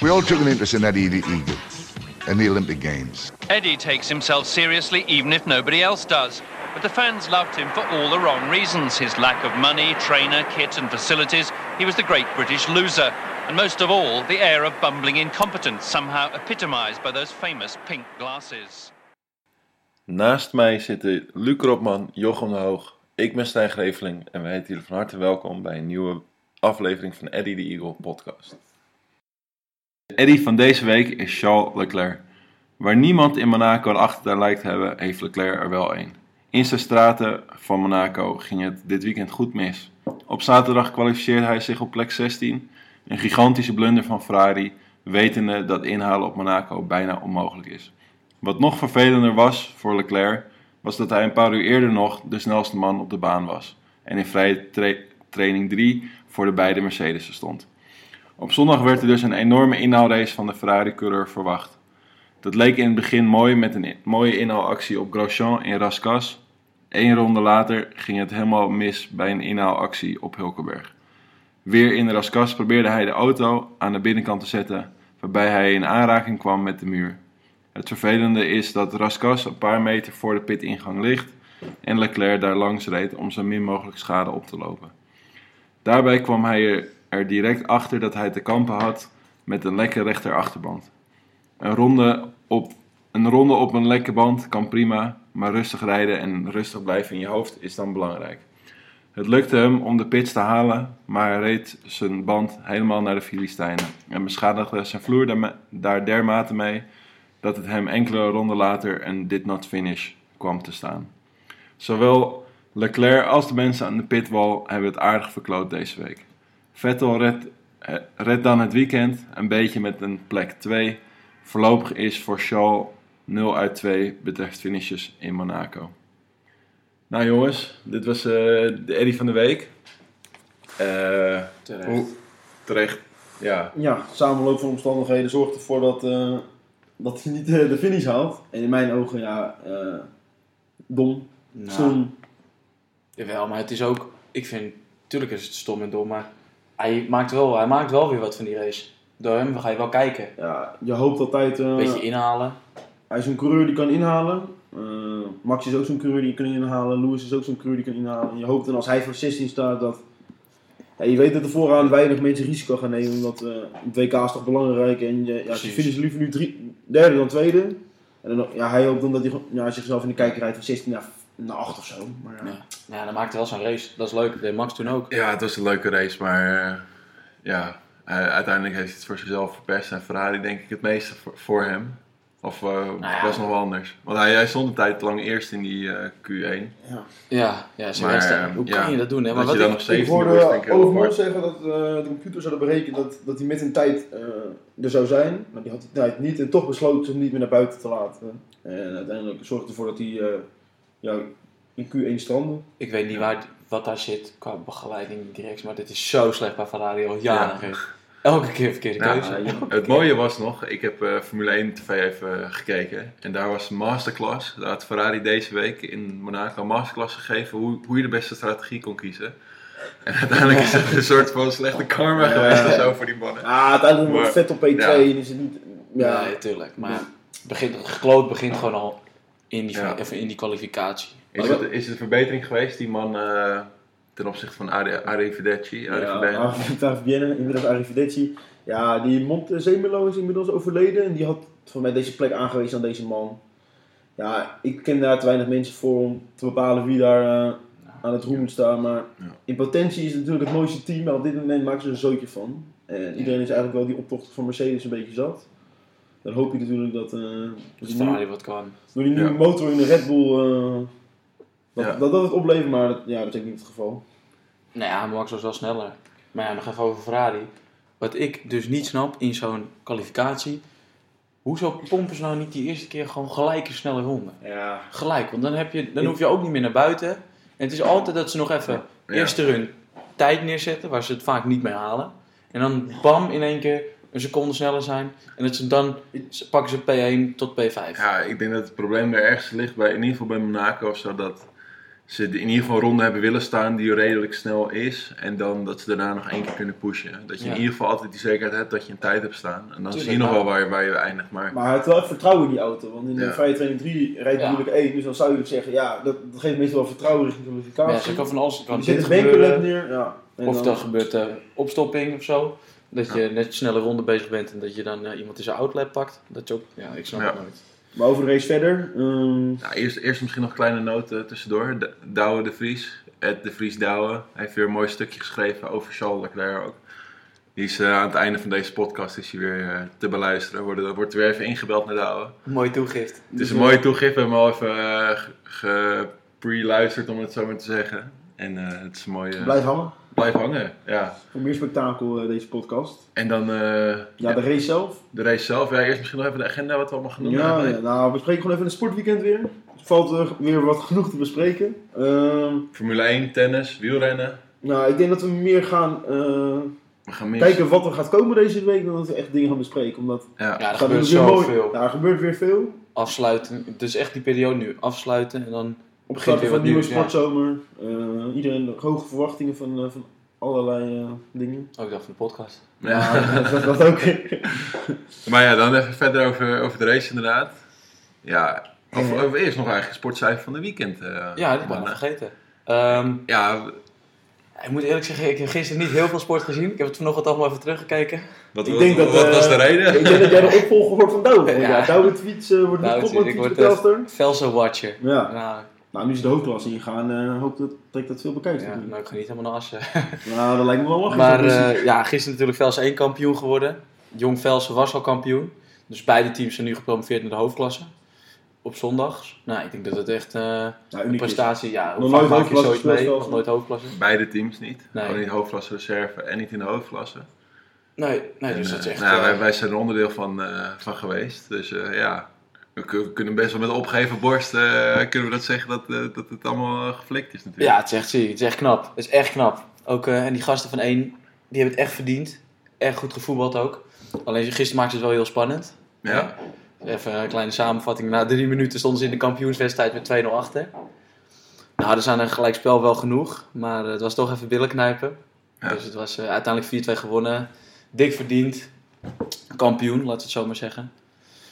We all took an interest in that E Eddie Eagle and the Olympic Games. Eddie takes himself seriously even if nobody else does. But the fans loved him for all the wrong reasons his lack of money, trainer, kit, and facilities. He was the great British loser. And most of all, the air of bumbling incompetence, somehow epitomised by those famous pink glasses. Naast mij zitten Luc Robman, Jochem de Hoog, ik ben Stijn Greveling en wij heten jullie van harte welkom bij een nieuwe aflevering van Eddie de Eagle podcast. De Eddie van deze week is Charles Leclerc. Waar niemand in Monaco een achtertuin lijkt te hebben, heeft Leclerc er wel een. In zijn straten van Monaco ging het dit weekend goed mis. Op zaterdag kwalificeerde hij zich op plek 16, een gigantische blunder van Ferrari, wetende dat inhalen op Monaco bijna onmogelijk is. Wat nog vervelender was voor Leclerc, was dat hij een paar uur eerder nog de snelste man op de baan was en in vrije tra- training 3 voor de beide Mercedes stond. Op zondag werd er dus een enorme inhaalrace van de Ferrari-coureur verwacht. Dat leek in het begin mooi met een in- mooie inhaalactie op Grosjean in Raskas. Eén ronde later ging het helemaal mis bij een inhaalactie op Hulkenberg. Weer in Raskas probeerde hij de auto aan de binnenkant te zetten, waarbij hij in aanraking kwam met de muur. Het vervelende is dat Raskas een paar meter voor de pitingang ligt en Leclerc daar langs reed om zo min mogelijk schade op te lopen. Daarbij kwam hij er, er direct achter dat hij te kampen had met een lekke rechterachterband. Een ronde, op, een ronde op een lekke band kan prima, maar rustig rijden en rustig blijven in je hoofd is dan belangrijk. Het lukte hem om de pits te halen, maar hij reed zijn band helemaal naar de Filistijnen en beschadigde zijn vloer daarme- daar dermate mee dat het hem enkele ronden later een did not finish kwam te staan. Zowel Leclerc als de mensen aan de pitwal hebben het aardig verkloot deze week. Vettel redt eh, redt dan het weekend een beetje met een plek 2. Voorlopig is voor Charles 0 uit 2 betreft finishes in Monaco. Nou jongens, dit was eh, de Eddy van de week. Eh, Terecht. hoe- terecht, ja. Ja, samenloop van omstandigheden zorgt ervoor dat, eh, dat hij niet eh, de finish haalt. En in mijn ogen, ja, eh, dom, Nou, stom. Jawel, maar het is ook... Ik vind... Tuurlijk is het stom en dom, maar... Hij maakt wel, hij maakt wel weer wat van die race. Door hem ga je wel kijken. Ja, je hoopt altijd... eh, Een beetje inhalen. Hij is een coureur die kan inhalen. Eh, Max is ook zo'n coureur die kan inhalen. Lewis is ook zo'n coureur die kan inhalen. En je hoopt dan als hij voor 16 staat dat... Ja, je weet dat er vooraan weinig mensen risico gaan nemen. Omdat eh het WK is toch belangrijk. En je, ja, ze Precies. finishen liever nu drie, derde dan tweede. En dan, ja, hij hoopt dan dat hij gewoon- ja, zichzelf in de kijker rijdt van 16 naar, naar 8 of zo. Maar ja. Ja. Ja, dan maakt hij wel zijn race. Dat is leuk. Dat deed Max toen ook. Ja, het was een leuke race, maar eh, ja, hij- uiteindelijk heeft hij het voor zichzelf verpest. En Ferrari denk ik het meeste voor, voor hem. Of eh, Nou ja. was nog wel anders. Want hij, hij stond een tijd lang eerst in die eh, Q1. Ja, ja zijn Maar, wedstrijd. eh, Hoe ja, kan je dat doen, dat hè? Maar je wat dan ik- nog Ik steeds niet was, denk hoorde ik heel Overmars hard. zeggen dat eh, de computer zou berekenen dat, dat hij met een tijd eh, er zou zijn. Maar die had die tijd niet en toch besloot ze hem niet meer naar buiten te laten. En uiteindelijk zorgde ervoor dat hij eh, ja, in Q1 strandde. Ik weet niet waar, wat daar zit qua begeleiding direct, maar dit is zo slecht bij Ferrari al jaren. Elke keer verkeerde Ja. keuze. eh, Het mooie was nog, ik heb eh, Formule 1 TV even eh, gekeken. En daar was een masterclass. Daar had Ferrari deze week in Monaco een masterclass gegeven hoe, hoe je de beste strategie kon kiezen. En uiteindelijk is het een soort van slechte karma Ja. geweest of zo voor die mannen. Ah, uiteindelijk wordt Maar- vet op P2 ja. en is het niet... Ja, Nee, tuurlijk. Maar het begint, het gekloot begint gewoon al in die, Ja. even in die kwalificatie. Is het, is het een verbetering geweest, die man eh, ten opzichte van Ari- Arrivederci? Arrivederci? Ja, Fabienne, inmiddels Arrivederci. Ja, die Montezemelo is inmiddels overleden en die had voor mij deze plek aangewezen aan deze man. Ja, ik ken daar te weinig mensen voor om te bepalen wie daar eh, aan het roem moet staan. Maar Ja. in potentie is het natuurlijk het mooiste team, maar op dit moment maken ze er een zootje van. En iedereen is eigenlijk wel die optocht van Mercedes een beetje zat. Dan hoop je natuurlijk dat eh, dat die Dus nieuwe- Ferrari wat kan. door die nieuwe Ja. motor in de Red Bull eh, dat, Ja. dat, dat het oplevert, maar dat, ja, dat is ook niet het geval. Nou ja, Max was wel sneller. Maar ja, nog even over Ferrari. Wat ik dus niet snap in zo'n kwalificatie. Hoezo pompen ze nou niet die eerste keer gewoon gelijk een snelle ronde? Ja, Gelijk, want dan, heb je, dan hoef je ook niet meer naar buiten. En het is altijd dat ze nog even Ja. eerste run tijd neerzetten, waar ze het vaak niet mee halen. En dan bam, in één keer een seconde sneller zijn. En dat ze dan ze pakken ze P1 tot P5. Ja, ik denk dat het probleem er ergens ligt, bij, in ieder geval bij Monaco of zo, dat ze in ieder geval een ronde hebben willen staan die redelijk snel is. En dan dat ze daarna nog één keer kunnen pushen. Dat je Ja. in ieder geval altijd die zekerheid hebt dat je een tijd hebt staan. En dan zie je Tuurlijk, nog wel maar- waar, je- waar je eindigt. Maar Maar hij heeft wel vertrouwen in die auto. Want in de Ja. vrije training 3 rijdt Ja. hij moeilijk 1. Dus dan zou je ook zeggen, ja, dat, dat geeft meestal wel vertrouwen richting de Ja, kwalificatie. ze kan van alles. Kan er zit dit een bankenlap gebeuren, neer. Ja. En of dan gebeurt er opstopping of zo. Dat je net snelle ronde bezig bent en dat je dan eh, iemand in zijn outlap pakt. Dat je ook, ja, ik snap Ja. het nooit. Maar over de race verder. ehm, nou, eerst, eerst misschien nog kleine noten tussendoor. D- Douwe de Vries, Ed de Vries Douwe, hij heeft weer een mooi stukje geschreven over Charles Leclerc ook. Die is eh, aan het einde van deze podcast is hij weer eh, te beluisteren. Wordt, wordt weer even ingebeld naar Douwe. Mooi toegift. Het is een mooie toegift. We hebben hem al even eh, ge- gepreluisterd, om het zo maar te zeggen. En eh, het is een mooie... Blijf hangen. Blijf hangen, ja. Voor meer spektakel eh, deze podcast. En dan eh, Ja, de race zelf. de race zelf. Ja, eerst misschien nog even de agenda wat we allemaal gaan doen. Ja, hebben. ja, nou, we spreken gewoon even een sportweekend weer. Er valt er weer wat genoeg te bespreken. Ehm, Formule 1, tennis, wielrennen. nou, ik denk dat we meer gaan eh, We gaan mis. kijken wat er gaat komen deze week. Dan dat we echt dingen gaan bespreken. Omdat Ja. Ja, er gaat gebeurt weer mooi- zoveel. Ja, er gebeurt weer veel. Afsluiten. Het is echt die periode nu. Afsluiten en dan Op Begint start weer van wat een nieuwe nieuws, ja. sportzomer. Eh, iedereen hoge verwachtingen van, eh, van allerlei eh, dingen. ook dag Oh, van de podcast. Ja. dat, dat ook. Maar ja, dan even verder over, over de race inderdaad. Ja, of, of eerst nog eigenlijk sportcijfer van de weekend. eh, Ja, dat ben ik mannen. vergeten. Ehm, Ja, ik moet eerlijk zeggen, ik heb gisteren niet heel veel sport gezien. Ik heb het vanochtend allemaal even teruggekeken. wat, Ik wat- denk dat, wat eh, was de ik reden? denk dat jij de opvolger wordt van Douwe. Ja. Ja. Ja, Douwe Tweets eh, wordt de Nou, kopman ik Tweets word betaalster. de Velso Watcher. Ja. Nou, Nou, nu is de hoofdklasse ingegaan. eh hoop dat trekt dat veel bekijkt. ja, natuurlijk. nou, ik ga niet helemaal naar Assen. Nou, dat lijkt me wel lachen. Maar zo'n eh, missie. ja, gisteren natuurlijk Velsen 1 kampioen geworden. Jong Velsen was al kampioen. Dus beide teams zijn nu gepromoveerd naar de hoofdklasse. Op zondags. Nou, ik denk dat het echt eh, Ja, een uniek is. prestatie... Ja, hoe Nog vaak nooit maak je hoofdklasse zoiets mee? gespeeld, Nog nooit hoofdklasse. Beide teams niet. Nee. Gewoon niet hoofdklasse reserve en niet in de hoofdklasse. Nee, nee dus En, dat is eh, echt... nou, eh, wij, wij zijn er onderdeel van, eh, van geweest. Dus eh, ja, we, kun- we kunnen best wel met opgeheven borst eh, kunnen we dat zeggen dat, eh, dat het allemaal eh, geflikt is natuurlijk. Ja, het is echt ziek. Het is echt knap. Het is echt knap. Ook, eh, en die gasten van één, die hebben het echt verdiend. Echt goed gevoetbald ook. Alleen gisteren maakte het wel heel spannend. Ja? Even een kleine samenvatting. Na drie minuten stonden ze in de kampioenswedstrijd met 2-0 achter. Nou, er zijn een gelijkspel wel genoeg. Maar eh, het was toch even billen knijpen. Ja. Dus het was eh, uiteindelijk 4-2 gewonnen. Dik verdiend. Kampioen, laten we het zo maar zeggen.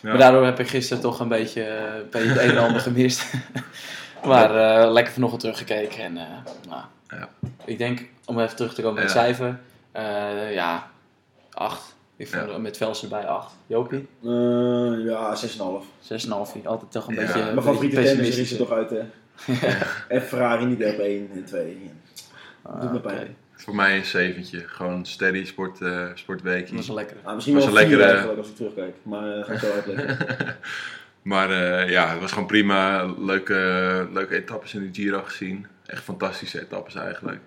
Ja. Maar daardoor heb ik gisteren toch een beetje, eh, een beetje het een en ander gemist. maar eh, lekker vanochtend teruggekeken. En, eh, nou, Ja. Ik denk, om even terug te komen met Ja. het cijfer. eh, ja, 8. Ik vond Ja. er met Velsen bij 8. Jopie? Eh, ja, 6,5. 6,5 vind ik altijd toch een Ja, beetje Mijn een beetje favoriete tennis is pessimistisch. er toch uit, hè? en Ferrari niet op 1 en 2. Ah, Doet me oké. pijn. Voor mij een zeventje. Gewoon steady sport, eh, sportweekje. Dat is een lekkere. Ah, misschien Was wel een 4 eh, lekkere- eigenlijk als ik terugkijk. Maar eh, ga ik zo uitleggen. Maar eh, ja, het was gewoon prima. Leuke, leuke etappes in de Giro gezien. Echt fantastische etappes eigenlijk.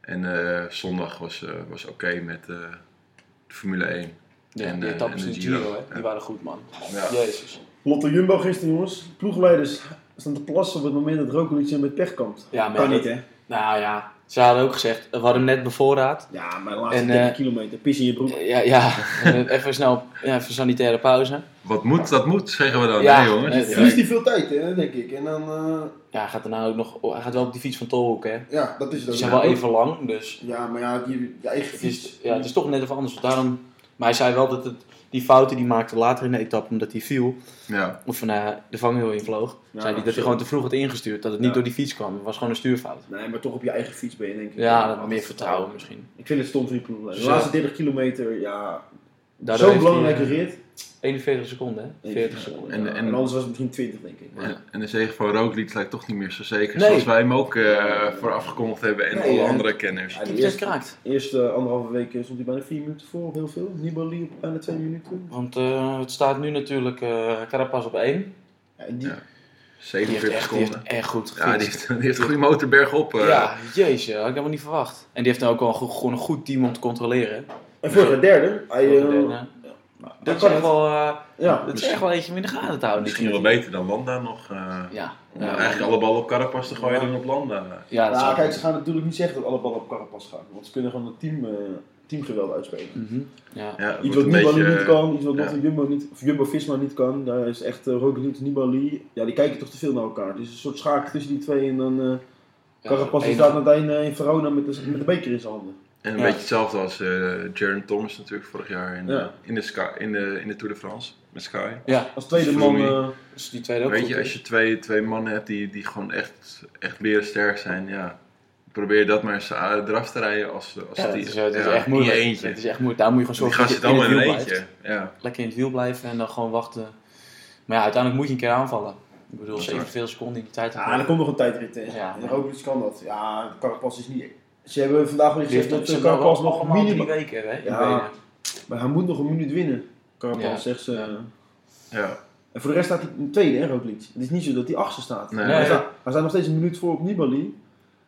En eh, zondag was, eh, was oké met eh, de Formule 1. Ja, En, die eh, etappes en in de de Giro, Giro, hè? ja. die waren goed, man. Ja. Jezus. Lotte Jumbo gisteren, jongens. Ploegleiders staan te plassen op het moment dat Roglic in met pech komt. Ja, maar kan ja, niet, hè? Nou ja, ze hadden ook gezegd, we hadden hem net bevoorraad. Ja, maar de laatste En, 30 eh, kilometer. Pis in je broek. Ja, ja. eh, even snel, ja, even sanitaire pauze. Wat moet, dat moet, zeggen we dan. Ja, hè, jongens. nee, Verliest hij veel tijd, hè, denk ik. En dan, eh, Ja, hij gaat daarna ook nog, oh, hij gaat wel op die fiets van Tolhoek, hè. ja, dat is het Die ook. zijn wel even lang, dus Ja, maar ja, je, je eigen het is, fiets. ja, het is toch net even anders. Daarom, maar hij zei wel dat het, die fouten die maakte later in de etappe, omdat hij viel, Ja, of van eh, de vangrail invloog, Ja, zei hij dat zo. hij gewoon te vroeg had ingestuurd, dat het niet Ja. door die fiets kwam. Het was gewoon een stuurfout. Nee, maar toch op je eigen fiets ben je, denk ik. Ja, dat meer vertrouwen misschien. Ik vind het stom van die ploegleider. De Zo. laatste 30 kilometer, ja. Daardoor Zo'n heeft hij, belangrijke eh, rit. 41 seconden, hè? 40 seconden. En, En- en, en- anders was het misschien 20, denk ik. Maar- en, en de zege van Roglic lijkt toch niet meer zo zeker Nee. zoals wij hem ook eh voor afgekondigd hebben en Nee, alle hè. andere kenners. Ja, Die de test eerste, kraakt. eerste anderhalve week eh, stond hij bijna 4 minuten voor, op heel veel. Nibali op bijna 2 minuten. Want eh, het staat nu natuurlijk eh Carapaz op 1. Ja, en die, Ja. Die heeft 47 echt, die heeft seconden. echt goed Ja, die gefietst. heeft, die heeft een goede motor bergop. eh. Ja, jezus, dat had ik helemaal niet verwacht. En die heeft nou ook wel een go- gewoon een goed team om te controleren. En vorig jaar derde. Hij, eh, Dat nou, is kan echt het. wel, eh, Ja. dat is echt wel eentje om in de gaten te houden. Misschien wel beter dan Landa nog. eh, Ja. om eigenlijk alle ballen op Carapaz te gooien dan op Landa. Ja, dat Ja, nou, zou kijk, ze gaan natuurlijk niet zeggen dat alle ballen op Carapaz gaan. Want ze kunnen gewoon het team, eh, teamgeweld uitspelen. Mhm. ja. Ja, het wordt Iets een wat Nibali beetje, niet kan, iets wat ja. Lotte Jumbo niet, of Jumbo Visma niet kan. Daar is echt uh, Roglic, Nibali. Ja, die kijken toch te veel naar elkaar. Het is een soort schaak tussen die twee en dan eh, Carapaz die enige- staat meteen eh, in Verona met de, met de beker in zijn handen. En een Ja. beetje hetzelfde als eh Jaron Thomas natuurlijk vorig jaar in, Ja. in, de Sky, in, de, in de Tour de France met Sky. Ja, Als tweede man. Schroemi. eh, dus die tweede ook Weet goed je, is. als je twee, twee mannen hebt die, die gewoon echt, echt berensterk zijn, ja. Probeer dat maar eens eh, eraf te rijden als, als Ja, dat die- is, eh, dat is ja, echt moeilijk. In je eentje. Dat is echt moeilijk. Daar moet je Die gewoon zorgen gast dat zit je in allemaal het in een wiel blijft. eentje. Ja. Lekker in het wiel blijven en dan gewoon wachten. Maar ja, uiteindelijk moet je een keer aanvallen. Ik bedoel, Dat is waar. 47 seconden in die tijd. Ja, er ah, komt nog een tijdrit tegen. Ja. Ja. En hopelijk kan dat. Ja, Carapaz is niet... Ze hebben vandaag weer Die heeft gezegd dat dat ze eh, hebben Carapaz nog nog allemaal drie minimaal... weken, hè? in Ja. benen. Maar hij moet nog een minuut winnen, Carapaz, Ja. zegt ze. Ja. ja. En voor de rest staat hij in tweede, hè, Roglic. Het is niet zo dat hij achtste staat. Nee. Hij, Nee. staat hij staat nog steeds een minuut voor op Nibali.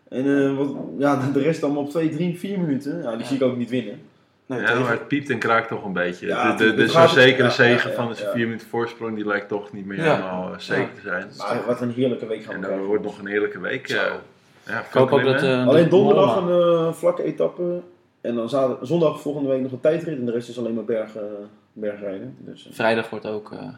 En eh, wat, ja, de rest allemaal op 2, 3, 4 minuten. Ja, die Ja. zie ik ook niet winnen. Nee, Ja, tegen- maar het piept en kraakt toch een beetje. Ja, de, de, het de, zo'n gaat- zekere ja, zegen ja, van ja, de ja. 4 minuten voorsprong, die lijkt toch niet meer Ja. helemaal eh, zeker Ja. te zijn. Maar wat een heerlijke week gaan En we dat krijgen. wordt nog een heerlijke week. eh, ja, Ik hoop ook dat... klimmen. eh, Alleen dat donderdag Mollema- een eh, vlakke etappe. En dan zater- zondag volgende week nog een tijdrit. En de rest is alleen maar berg, eh, bergrijden. Dus, eh, Vrijdag wordt ook... eh,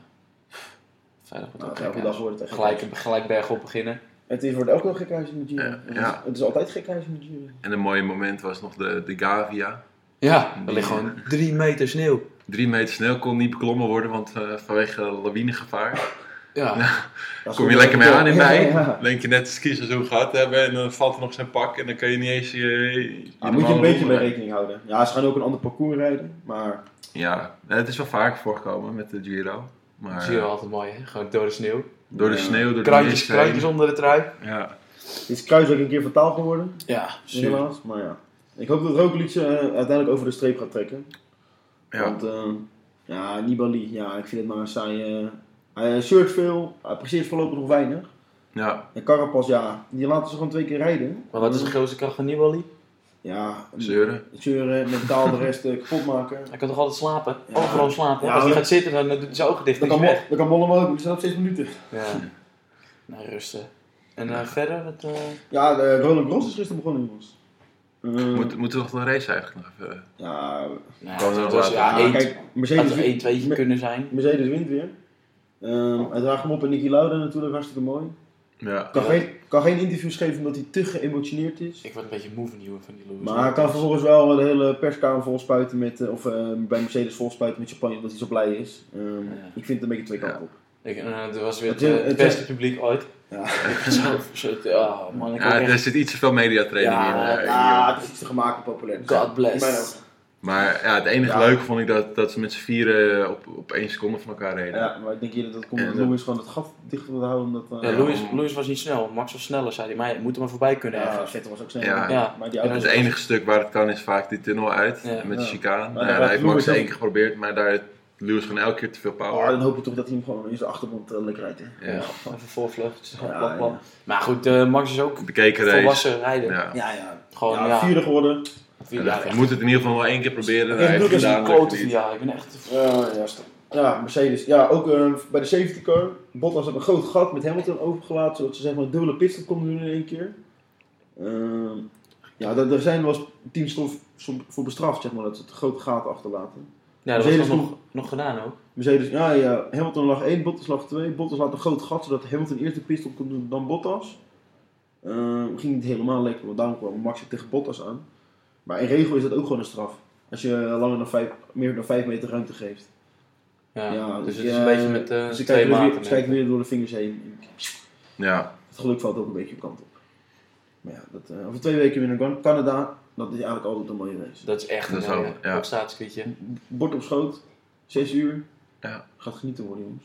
vrijdag wordt nou, ook elke dag gek huis. wordt het echt gelijk, gelijk bergop beginnen. Het is, wordt elke keer gekhuis in de Giro. Ja, Het is- ja. Het is altijd gekhuis in de Giro. En een mooi moment was nog de, de Gavia. Ja, er ligt gewoon drie meter sneeuw. Drie meter sneeuw kon niet beklommen worden, want eh, vanwege lawinegevaar. Ja, Ja, Kom je lekker mee aan in ja, mei. ja, ja. Denk je net het skiseizoen gehad hebben en dan valt er nog zijn pak en dan kan je niet eens je. je Daar moet je een normale beetje mee ronde- rekening houden. Ja, ze gaan ook een ander parcours rijden. Maar Ja, het is wel vaak voorkomen met de Giro. Maar zie je wel altijd mooi, hè? Gewoon door de sneeuw. door de Ja. sneeuw, door Kruintjes, de mist heen. kruintjes onder de trui. Ja, het is kruis ook een keer fataal geworden. Ja, zuur. Helaas. Maar ja. Ik hoop dat Roglic eh, uiteindelijk over de streep gaat trekken. ja. Want eh, ja, Nibali, ja, ik vind het maar een saai. eh, hij shirt veel, hij presteert voorlopig nog weinig. ja. En Carapaz, ja, die laten ze gewoon twee keer rijden. Maar wat is de grootste kracht van Nibali? Ja, zeuren. zeuren, mentaal de rest eh, kapot maken. Hij kan toch altijd slapen? Ja. Overal slapen. Ja, Als hij dat- gaat zitten, dan doet hij zijn ogen dicht. Dat en is kan, hij Mo- dat kan Mollema ook, die staat op 6 minuten. weg. Ja. Nou, rusten. En eh, verder? Wat, eh, Ja, de Roland Gros is gisteren begonnen, jongens. Eh, Moet, moeten we nog de race eigenlijk nog even. ja, nou, Kan het wel later. was- ja, ja, één- kijk, had Mercedes, er één tweetje Me- kunnen zijn. Mercedes wint weer. Ehm, hij draagt hem op en Nicky Lauda natuurlijk hartstikke mooi. Ja. Kan, Oh. Ja. geen, kan geen interviews geven omdat hij te geëmotioneerd is. Ik word een beetje moe van die jongen van die Lewis. Maar hij kan vervolgens wel de hele perskamer volspuiten met, eh, of eh, bij Mercedes volspuiten met champagne omdat hij zo blij is. Ehm, Ja. Ik vind het een beetje twee kanten op. Ik, eh, dat was weer het, Het is- eh, het het beste is- publiek ooit. Ja. Ik was zo verzet. Ja, man. Ik Ja, word er echt... zit iets te veel mediatraining Ja, in. eh, in Ja, Nederland. Ah, het is iets te gemaakt en populair. God In mijn ogen. bless. Maar ja, het enige Ja. leuke vond ik dat, dat ze met z'n vieren op, op één seconde van elkaar reden. Ja, maar ik denk eerder dat het komt En dat dat- Lewis gewoon het gat dicht wil houden. Omdat, eh, Ja, Lewis, Lewis was niet snel. Max was sneller, zei hij. Maar je moet er maar voorbij kunnen. Ja, ergens. Vettel was ook snel. Ja. Ja. Maar die En auto Het enige stuk waar het kan is vaak die tunnel uit Ja. met de Ja. chicane. Maar Nou, daar daar heeft heeft Max Lewis één ook- keer geprobeerd, maar daar heeft Lewis gewoon elke keer te veel Oh, dan power. hoop je toch dat hij hem gewoon in zijn achterband eh, lekker rijdt. hè. Ja. Even voorvlucht. Ja, Plap, plap. ja. Maar goed, eh, Max is ook Bekeken race. volwassen rijden. Ja. Ja, ja. Gewoon, ja, Oh, ja. vierde geworden. Vier- Ja, ja, je echt. moet het in ieder geval wel één keer proberen. Ja, dus Hij heeft Lucas Een gedaan. klote lukt het niet. via. Ik ben echt... Ja, ja, stop. Ja, Mercedes. Ja, ook eh, bij de safety car. Bottas had een groot gat met Hamilton overgelaten, zodat ze zeg maar een dubbele pitstop konden doen in één keer. Ehm, ja, daar, daar zijn wel eens teams voor, voor bestraft, zeg maar, dat ze het grote gaten achterlaten. Ja, dat was Mercedes nog, nog gedaan ook. Mercedes, ja, ja, Hamilton lag 1, Bottas lag 2. Bottas laat een groot gat, zodat Hamilton eerst de pitstop kon doen dan Bottas. Ehm, ging niet helemaal lekker, want daarom kwam Max ook tegen Bottas aan. Maar in regel is dat ook gewoon een straf. Als je langer dan vijf, meer dan 5 meter ruimte geeft. Ja, Ja, dus het ja, is een beetje met eh, ze twee kijken er maten. weer, ze kijken weer door de vingers heen. Ja, Het geluk valt ook een beetje op kant op. Maar ja, dat, eh, over twee weken weer naar Gan- Canada. Dat is eigenlijk altijd een mooie race. Dat is echt Dat is een eh, wel- ja. mooie opstaatskwietje. Bord op schoot, 6 uur. Ja. Gaat genieten worden, jongens.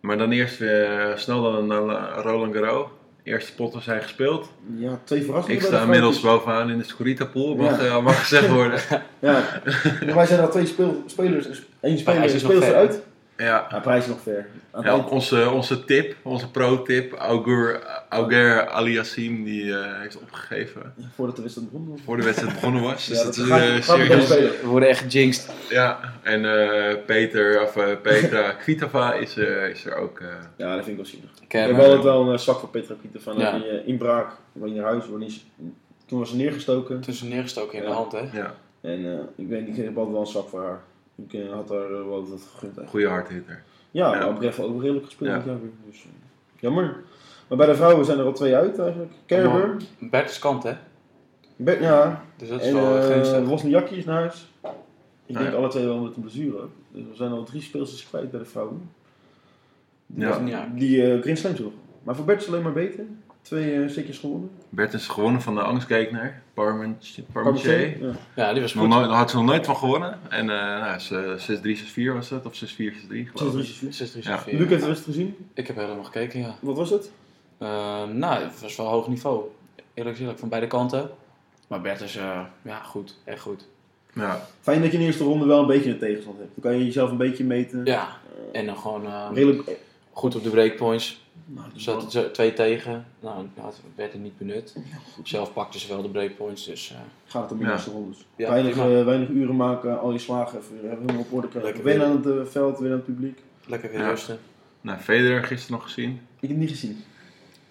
maar dan eerst weer snel dan naar Roland Garros. Eerste potten zijn gespeeld. Ja, twee verrassingen. Ik bij de sta inmiddels vrouwtjes. bovenaan in de Scorita pool, mag, Ja. eh, mag gezegd worden. Ja, Maar wij zijn al twee speel- spelers. Eén speler Prijs is is nog speelt ver, eruit. Ja. Ja, prijs is nog ver. Aan het Ja, eind- onze, onze tip, onze pro-tip, Augur, Auger Aliassim, die eh, heeft opgegeven Voordat de wedstrijd begon. voor de wedstrijd begonnen was. Dus Ja, dat, dat is gaat- eh, gaat serieus. meteen We worden echt jinxed. Ja, en eh, Peter, of, eh, Petra Kvitova is, eh, is er ook. eh, Ja, dat vind ik wel zielig. Ik ken Ik hem. heb altijd wel een zak van Petra Pieter van eh, Ja. die eh, inbraak. Wanneer naar huis, wanneer ze- toen was ze neergestoken. tussen neergestoken in de Ja. hand, hè? ja, En eh, ik weet niet, ik heb altijd wel een zak voor haar. Ik eh, had haar eh, wel wat gegund. eigenlijk. goede hardhitter. Ja, Ja. ja. Bref ook redelijk gespeeld Ja. dit jaar weer. Dus, eh, jammer. Maar Maar bij de vrouwen zijn er al twee uit eigenlijk. Kerber, Bert is kant, hè? Bert, ja. Dus dat is En wel geen eh stuk. Wozniacki is naar huis. Ik Ah, denk ja. alle twee wel met een blessure. Dus we zijn al drie speelsters kwijt bij de vrouwen. Ja. Ja. Die eh Grand Slam toch. Maar voor Bert is het alleen maar beter. Twee eh stukjes gewonnen. Bert is gewonnen van de angstkekenaar, Parmentier. Parmentier, Parmentier. Ja. ja, die was Nog goed. nooit- Daar had ze nog nooit van gewonnen. En eh nou, ze- 6-3, 6-4 was dat, of 6-4, 6-3 Zes, geloof drie, ik. zes, vier. 6-3, Ja. 6-4. Luc heeft de rest gezien. Ik heb helemaal gekeken, ja. Wat was het? Eh, nou, het was wel hoog niveau. Eerlijk gezegd, van beide kanten. Maar Bert is, eh, ja, goed. Echt goed. Ja, Fijn dat je in de eerste ronde wel een beetje een tegenstand hebt. Dan kan je jezelf een beetje meten. Ja, en dan gewoon eh, Redelijk. eh, goed op de breakpoints. Nou, Ze hadden ze- twee tegen. Nou, dat werd er niet benut. Zelf pakten ze wel de breakpoints, dus... eh, gaat het om de Ja. eerste rondes. Ja, weinig, prima. eh, weinig uren maken, al je slagen even weer helemaal op orde krijgen. Lekker Win weer. aan het eh, veld, win aan het publiek. lekker weer Ja. rusten. nou, Federer gisteren nog gezien. Ik heb het niet gezien.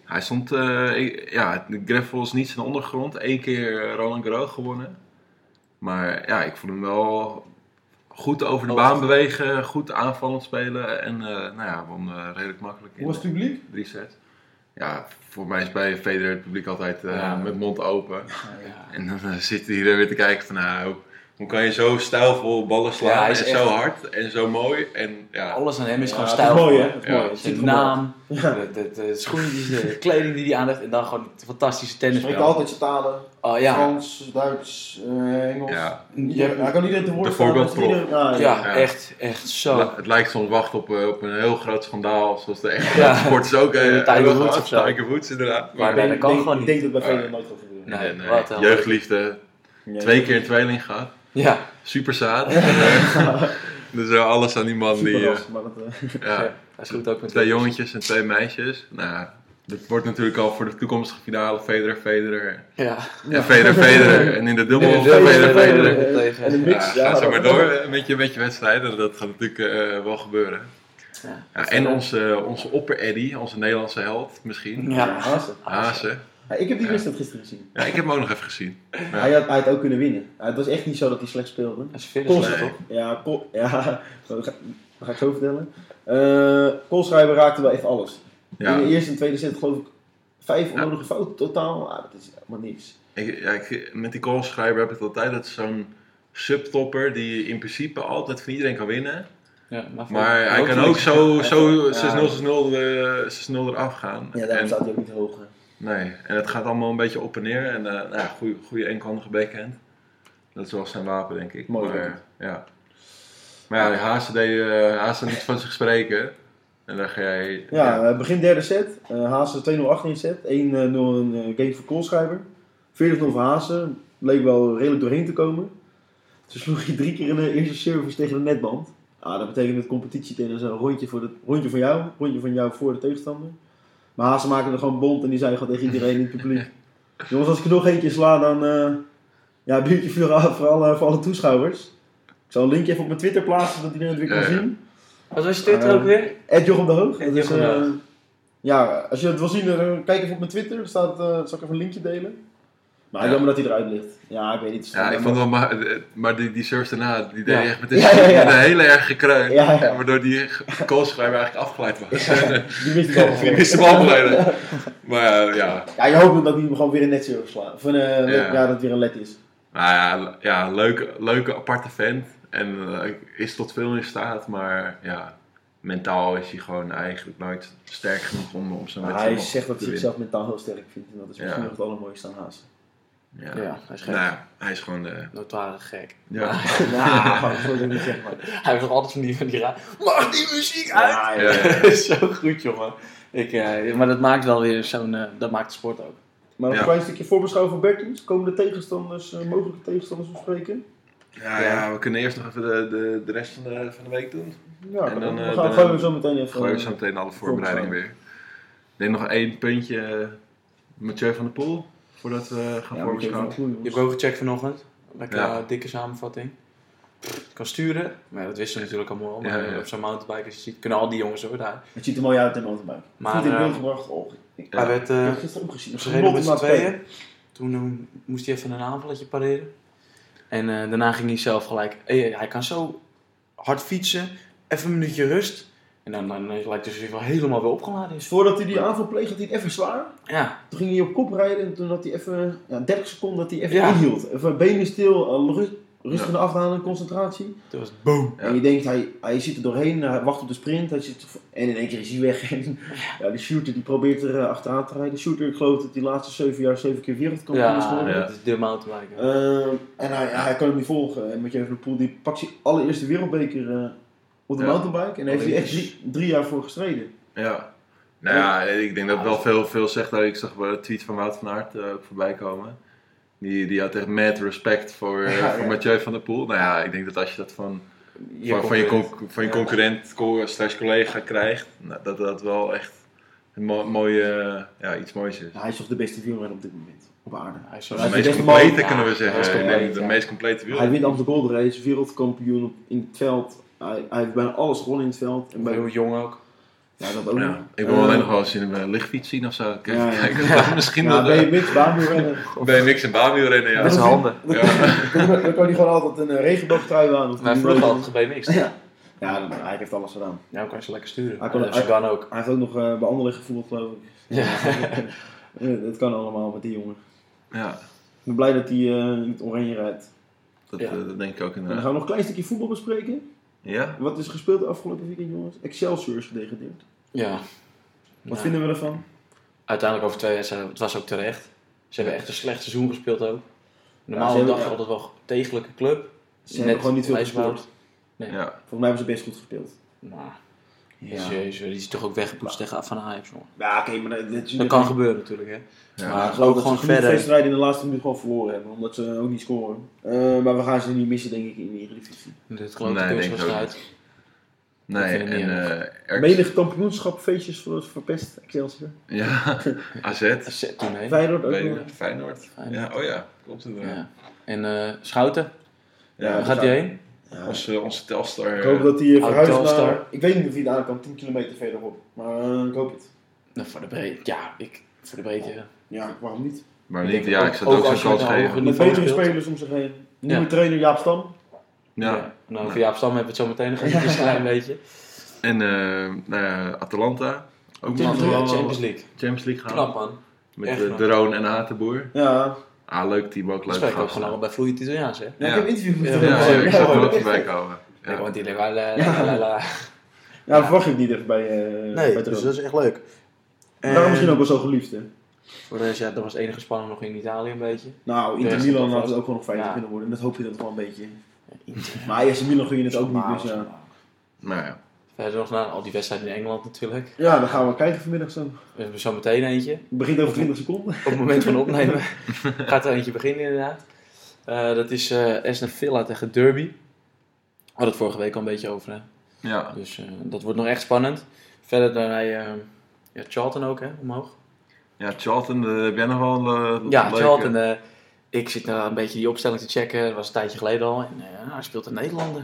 Hij stond, eh, ik- ja, de Greffel is niet zijn ondergrond. Eén keer eh, Roland Garros gewonnen. Maar ja, ik vond hem wel goed over de Alles baan goed. bewegen, goed aanvallend spelen. En eh, nou ja, won eh, redelijk makkelijk in Hoe was het publiek? eh, drie sets. Ja, voor mij is bij Federer het publiek altijd eh, Ja. met mond open. Ja. En dan eh, zit hij er weer te kijken van nou, hoe kan je zo stijlvol ballen Ja, slaan hij en is zo echt- hard en zo mooi. En ja, Alles aan hem is Ja, gewoon het is stijl. mooi, hè? Het is Ja. mooi. Het ziet Zijn er mooi uit. naam, de, de, de schoenen, die ze- de kleding die hij aan heeft en dan gewoon het fantastische Hij tennis. spreekt altijd zijn talen. Oh ja, Frans, Duits, eh, Engels. ja. Je hebt- Hij kan iedereen te woord De staan, voorbeeldprof. dat is ieder- Ah, ja. ja, echt, echt zo. La- het lijkt soms wachten op, eh, op een heel groot schandaal, zoals de echte Ja. sporters ook. eh, Tiger hebben Woods gehad. of zo. Tiger Woods inderdaad. Maar Ik bij- denk- dat kan denk- gewoon Ik niet. denk dat bij Ah. Federer nooit gaat gebeuren. Nee, En, eh, wat een- jeugdliefde, Ja. twee keer een tweeling gehad, Ja, super zaad. dus eh, alles aan die man. Die, eh, Superras, maar dat, eh, ja. ja, dat is goed ook met Twee jongetjes en twee meisjes. Nou, dit wordt natuurlijk al voor de toekomstige finale Federer, Federer. Ja. En Federer, Federer. En in de dubbel In de Federer, dubbel, Federer. Federer, Federer. En de Ja, mix. ga zo dat- maar door eh, met je, met je wedstrijden. Dat gaat natuurlijk eh, wel gebeuren. Ja. Ja, en onze, onze opper Eddy, onze Nederlandse held misschien. Ja, Ja. Haase. Haase. Ja, ik heb die wedstrijd gisteren gezien. Ja, ik heb hem ook nog even gezien. Hij, had, hij had ook kunnen winnen. Ja, het was echt niet zo dat hij slecht speelde. Dat is verder Kool- slecht, Nee. toch? Ja, Kool- ja dat, ga, dat ga ik zo vertellen. Eh Koolschrijver raakte wel echt alles. Ja, In de eerste en tweede set geloof ik vijf Ja. onnodige fouten totaal. Ah, dat is helemaal niks. ik, ja ik, met die goalschrijver heb ik het altijd. Dat is zo'n subtopper die in principe altijd van iedereen kan winnen. Ja, maar voor- Maar hij kan niks. ook zo, zo 6-0, 6-0 Ja. eh, 6-0 eraf gaan. Ja, daarom en, staat hij ook niet hoog. hè. nee, en het gaat allemaal een beetje op en neer. En eh nou, ja, goede, goede eenkantige backhand. Dat is wel zijn wapen, denk ik. Mooi maar, backhand. ja. maar ja, Haase deed eh, Haase niet van zich spreken. En dan ga jij... Ja, eh, begin derde set. Eh Haase 2-0 achter in set. 1-0 een eh, game voor Koolschrijver. 40-0 voor Haase. Leek wel redelijk doorheen te komen. Ze sloeg hij drie keer in de eerste service tegen de netband. Ah, dat betekent met competitietennis een rondje, voor de, rondje van jou, rondje van jou voor de tegenstander. Maar Haase maakte er gewoon bond en die zei gewoon tegen iedereen in het publiek. Jongens, als ik er nog eentje sla, dan eh ja, biertje vuur aan voor alle, voor alle toeschouwers. Ik zal een linkje even op mijn Twitter plaatsen, zodat iedereen het weer kan Ja, ja. zien. Wat was je Twitter ook weer? Ed Jochem de Hoog. Ed Dat is, Jochem de eh, Hoog. ja, als je het wil zien, dan kijk even op mijn Twitter. Er staat, eh, zal ik even een linkje delen. Maar Ja. jammer dat hij eruit ligt. Ja, ik weet niet. eh, Ja, ik vond wel, maar, maar die, die surfs daarna, die deed Ja. hij echt met een, Ja, ja, ja. met een hele erg gekreun. Ja, ja. Waardoor die koolschrijver eigenlijk afgeleid was. Die mist het Die wel. wist hem al beneden. Maar eh, ja, Ja, je hoopt dat hij hem gewoon weer een net server slaat. Of een, eh, net- ja, dat het weer een let is. Nou ja, le- ja leuke, leuke aparte vent. En eh, is tot veel in staat, maar ja, mentaal is hij gewoon eigenlijk nooit sterk genoeg om op zijn Maar wedstrijd hij nog zegt dat te hij winnen. zichzelf mentaal heel sterk vindt. En dat is misschien Ja. nog het allermooiste aan Haas. Ja. Ja, hij is gek. Nou ja, hij is gewoon... eh, Notoire gek. ja. Ja, Nou, dat wil ik niet zeggen. Maar. Hij heeft nog altijd van die, van die raar... Mag die muziek uit? Ja, Ja, ja. zo goed, jongen. Ik, eh, maar dat maakt wel weer zo'n... eh, dat maakt de sport ook. Maar nog een Ja. klein stukje voorbeschouwen voor Bertens. Komen de tegenstanders, eh, mogelijke tegenstanders bespreken? Ja, ja, we kunnen eerst nog even de, de, de rest van de, van de week doen. Ja, En dan, we eh, gaan, dan- gooien we zo meteen even. Gooi zo meteen alle voorbereidingen weer. Ik denk nog één puntje, eh, Mathieu van der Poel, voordat we eh, gaan Ja, moet je even een voorbeschouwen. clue, Je hebt jongens. ook gecheckt vanochtend. Lekker Ja. eh, dikke samenvatting. Pff, Kan sturen. Maar dat wisten we natuurlijk allemaal. Maar Ja, ja. op zo'n mountainbike, als je ziet, kunnen al die jongens hoor daar. Het ziet er mooi uit in mountainbike. Maar, Goed in beeld eh, gebracht. Oh, ik Ja. Hij werd ik eh heb gisteren ook gezien. ze reden met Genot z'n om naar te tweeën. Toen eh, moest hij even een aanvalletje pareren. En eh, daarna ging hij zelf gelijk. eh, hij kan zo hard fietsen. Even een minuutje rust. En dan, dan, dan lijkt het alsof hij wel helemaal weer opgeladen Dus is. voordat hij die aanval pleegde, had hij het even zwaar. Ja, Toen ging hij op kop rijden en toen had hij even ja, 30 seconden dat hij even Ja. inhield. Even benen stil, eh, rust- rustig naar afhalen, concentratie. dat was boom. Ja. En je denkt, hij, hij zit er doorheen, hij wacht op de sprint. Hij zit, en in één keer is hij weg. En, ja, die shooter die probeert er eh, achteraan te rijden. Shooter, ik geloof dat hij de laatste zeven jaar zeven keer wereldkampioen is Ja, geworden. dat is de mountainbiker. Ehm, en hij, hij kan hem niet volgen. En met je even de poel, die pakt zijn allereerste wereldbeker eh, op de Ja. mountainbike. En daar heeft hij echt Olympisch. drie, drie jaar voor gestreden. Ja. Nou ja, ik denk dat het wel veel, veel zegt. daar. Ik zag wel een tweet van Wout van Aert eh, ook voorbij komen. Die, die had echt mad respect voor, eh, Ja, voor ja. Mathieu van der Poel. Nou ja, ik denk dat als je dat van Je van, van je, concurrent. conc- van je Ja. concurrent co- slash collega krijgt, nou, dat dat wel echt een mo- mooie, eh, ja, iets moois is. Ja, hij is toch de beste wielrenner op dit moment op aarde. Hij is Hij De is meest de beste complete man. kunnen we Ja, zeggen. hij is Ik denk compleet, de ja. meest complete wielrenner. Hij wint amsterdam Gold Race, wereldkampioen op- in het veld. Hij, hij heeft bijna alles gewonnen in het veld. En bij, Heel jong ook. ja, dat ook. Ja, ik wil Eh, alleen nog wel eens in een eh, lichtfiets zien of zo. Kijk, Ja, ja. kijk, misschien Ja, dat, ben je eh, mix, baanwielrenner. bij niks en Bamio rennen. Ja. Met zijn handen. Dan, Ja. kan- dan kan hij gewoon altijd een eh, regenboogtrui aan. Of Maar een- vroeger had het niks. Ja, Ja, ja dan- hij heeft alles gedaan. dan kan je ze lekker sturen. Hij Hij kon- kan, hij- ook. Hij heeft ook nog eh bij anderen gevoeld, geloof ik. Ja. Eh, Het kan allemaal met die jongen. Ja, Ik ben blij dat hij eh, in het oranje rijdt. dat, Ja. eh, dat denk ik ook Dan gaan inderdaad. we nog een klein stukje voetbal bespreken. Ja? Wat is gespeeld de afgelopen weekend, jongens? Excelsior is gedegradeerd. ja. Wat Ja. vinden we ervan? Uiteindelijk over twee wedstrijden, het was ook terecht. Ze hebben echt een slecht seizoen gespeeld ook. Ja, Normaal ze hebben- dacht je altijd wel een degelijke club. Ze hebben gewoon niet veel lijstbouwd. gespeeld. Ja. Volgens mij hebben ze best goed gespeeld. Nou, Ja. jezus, die is toch ook weggepoetst tegen van Ajax, jongen. Ja, oké, maar dat, dat, Dat kan gebeuren natuurlijk, hè. Ja. Maar Ik geloof ook dat gewoon ze genoeg verder. wedstrijden in de laatste minuut gewoon verloren hebben, omdat ze ook niet scoren. Eh, maar we gaan ze niet missen, denk ik, in de Eredivisie. Dit geloof Nee, denk ik ik ook kunstwedstrijd. Nee, Ik vind het en niet eh Erks- Menig kampioenschapfeestjes voor verpest, Excelsior. Ja, AZ. Zet toen heen. Feyenoord ook nog. Benen, Feyenoord. Feyenoord. Ja, oh ja, klopt inderdaad. Ja. En eh, Schouten, Ja, dus waar gaat hij heen? Ja. Onze, onze Telstar. eh, Ik hoop dat hij eh, Oud verhuist naar... Telstar. Ik weet niet of hij daar kan, 10 kilometer verderop. Maar eh, ik hoop het. Nou, voor de breedte. Ja, ik, voor de breedte. Ja, waarom niet? Maar Ik niet, denk ja, ook- ik zou ook het ook als je zo'n kans met een geven. hoge- Met Niveau betere speelt. spelers om zich heen. Nieuwe Ja. trainer Jaap Stam. Ja. Nou, over Jaap Stam hebben we het zo meteen nog even een klein beetje. En eh, nou ja, Atalanta. Ook nog Champions wel League. Champions League. Champions League gaan. Knap, man. Met echt de, knap. de Roon en Hatenboer. Ja, Ah, leuk team ook. Dat Leuk spreek ik ook gasten. gewoon al bij vloeiend Italiaans, hè. Ja, ik Ja. heb een interview met Ja, hem. Ja, Ja, ik zag er ja, ook voorbij komen. Ja. Ja. Want die eh, la, la, la, la, la. Ja, dat verwacht ik niet echt bij, eh bij Droom. is echt leuk. Daarom misschien ook wel zo geliefd, hè. Voor de rest, ja, dat was het enige spannend nog in Italië een beetje. Nou, Inter Ja, Milan dat had was- het ook wel nog veilig Ja. kunnen worden. En dat hoop je dat wel een beetje. Maar Ajax Milan gun je het ook niet, dus ja. Nou ja. Verder nog naar al die wedstrijden in Engeland natuurlijk. Ja, dan gaan we kijken vanmiddag zo. We hebben zo meteen eentje. Het begint over 20 seconden. Op het moment van opnemen gaat er eentje beginnen inderdaad. Eh, dat is eh Aston Villa tegen Derby. We hadden het vorige week al een beetje over, hè. Ja. Dus eh, dat wordt nog echt spannend. Verder daarna eh, ja, Charlton ook, hè, omhoog. ja, Charlton, eh, heb jij nog wel een eh, Ja, leuke- Charlton. eh, ik zit nou een beetje die opstelling te checken. Dat was een tijdje geleden al. En, eh, hij speelt een Nederlander.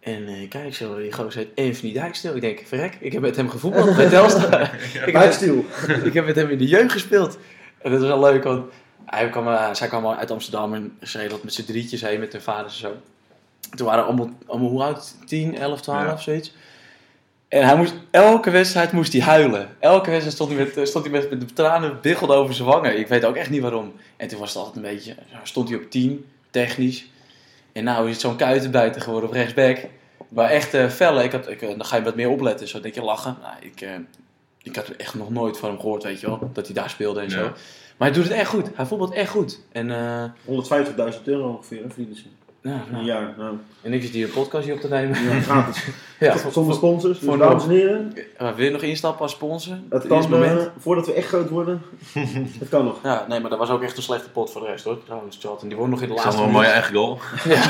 En eh, kijk, zo, die gozer heet Anthony Dijkstil. Ik denk, verrek, ik heb met hem gevoetbald bij Telstra. ik, Blijf heb, stil. ik heb met hem in de jeugd gespeeld. En dat is wel leuk, want hij kwam, eh, zij kwam uit Amsterdam en ze reed dat met z'n drietjes heen met hun vaders en zo. Toen waren allemaal, allemaal hoe oud? 10, 11, 12 Ja. of zoiets. En hij moest, elke wedstrijd moest hij huilen. Elke wedstrijd stond hij met, eh, stond hij met, met de tranen biggeld over zijn wangen. Ik weet ook echt niet waarom. En toen was het altijd een beetje, stond hij op 10, technisch. En nou is het zo'n kuitenbuiten geworden op rechtsback. Maar echt eh felle, ik had, ik, eh, dan ga je wat meer opletten. Zo denk je lachen. Nou, ik, eh, ik had echt nog nooit van hem gehoord, weet je wel. Dat hij daar speelde en Ja. zo. Maar hij doet het echt goed. Hij voetbalt echt goed. En, eh, 150.000 euro ongeveer, hè, vrienden. nou, Een nou. jaar. Nou, En ik zit hier een podcastje op te nemen. ja, gratis. Ja. Zonder sponsors. Dus voor- dames en heren, Maar wil je nog instappen als sponsor? het Op kan dit moment? eh, voordat we echt groot worden. het kan nog. Ja, nee, maar dat was ook echt een slechte pot voor de rest hoor. Trouwens, Charlton, die won nog in de Ik zag laatste nog een minuut. mooie eigen goal.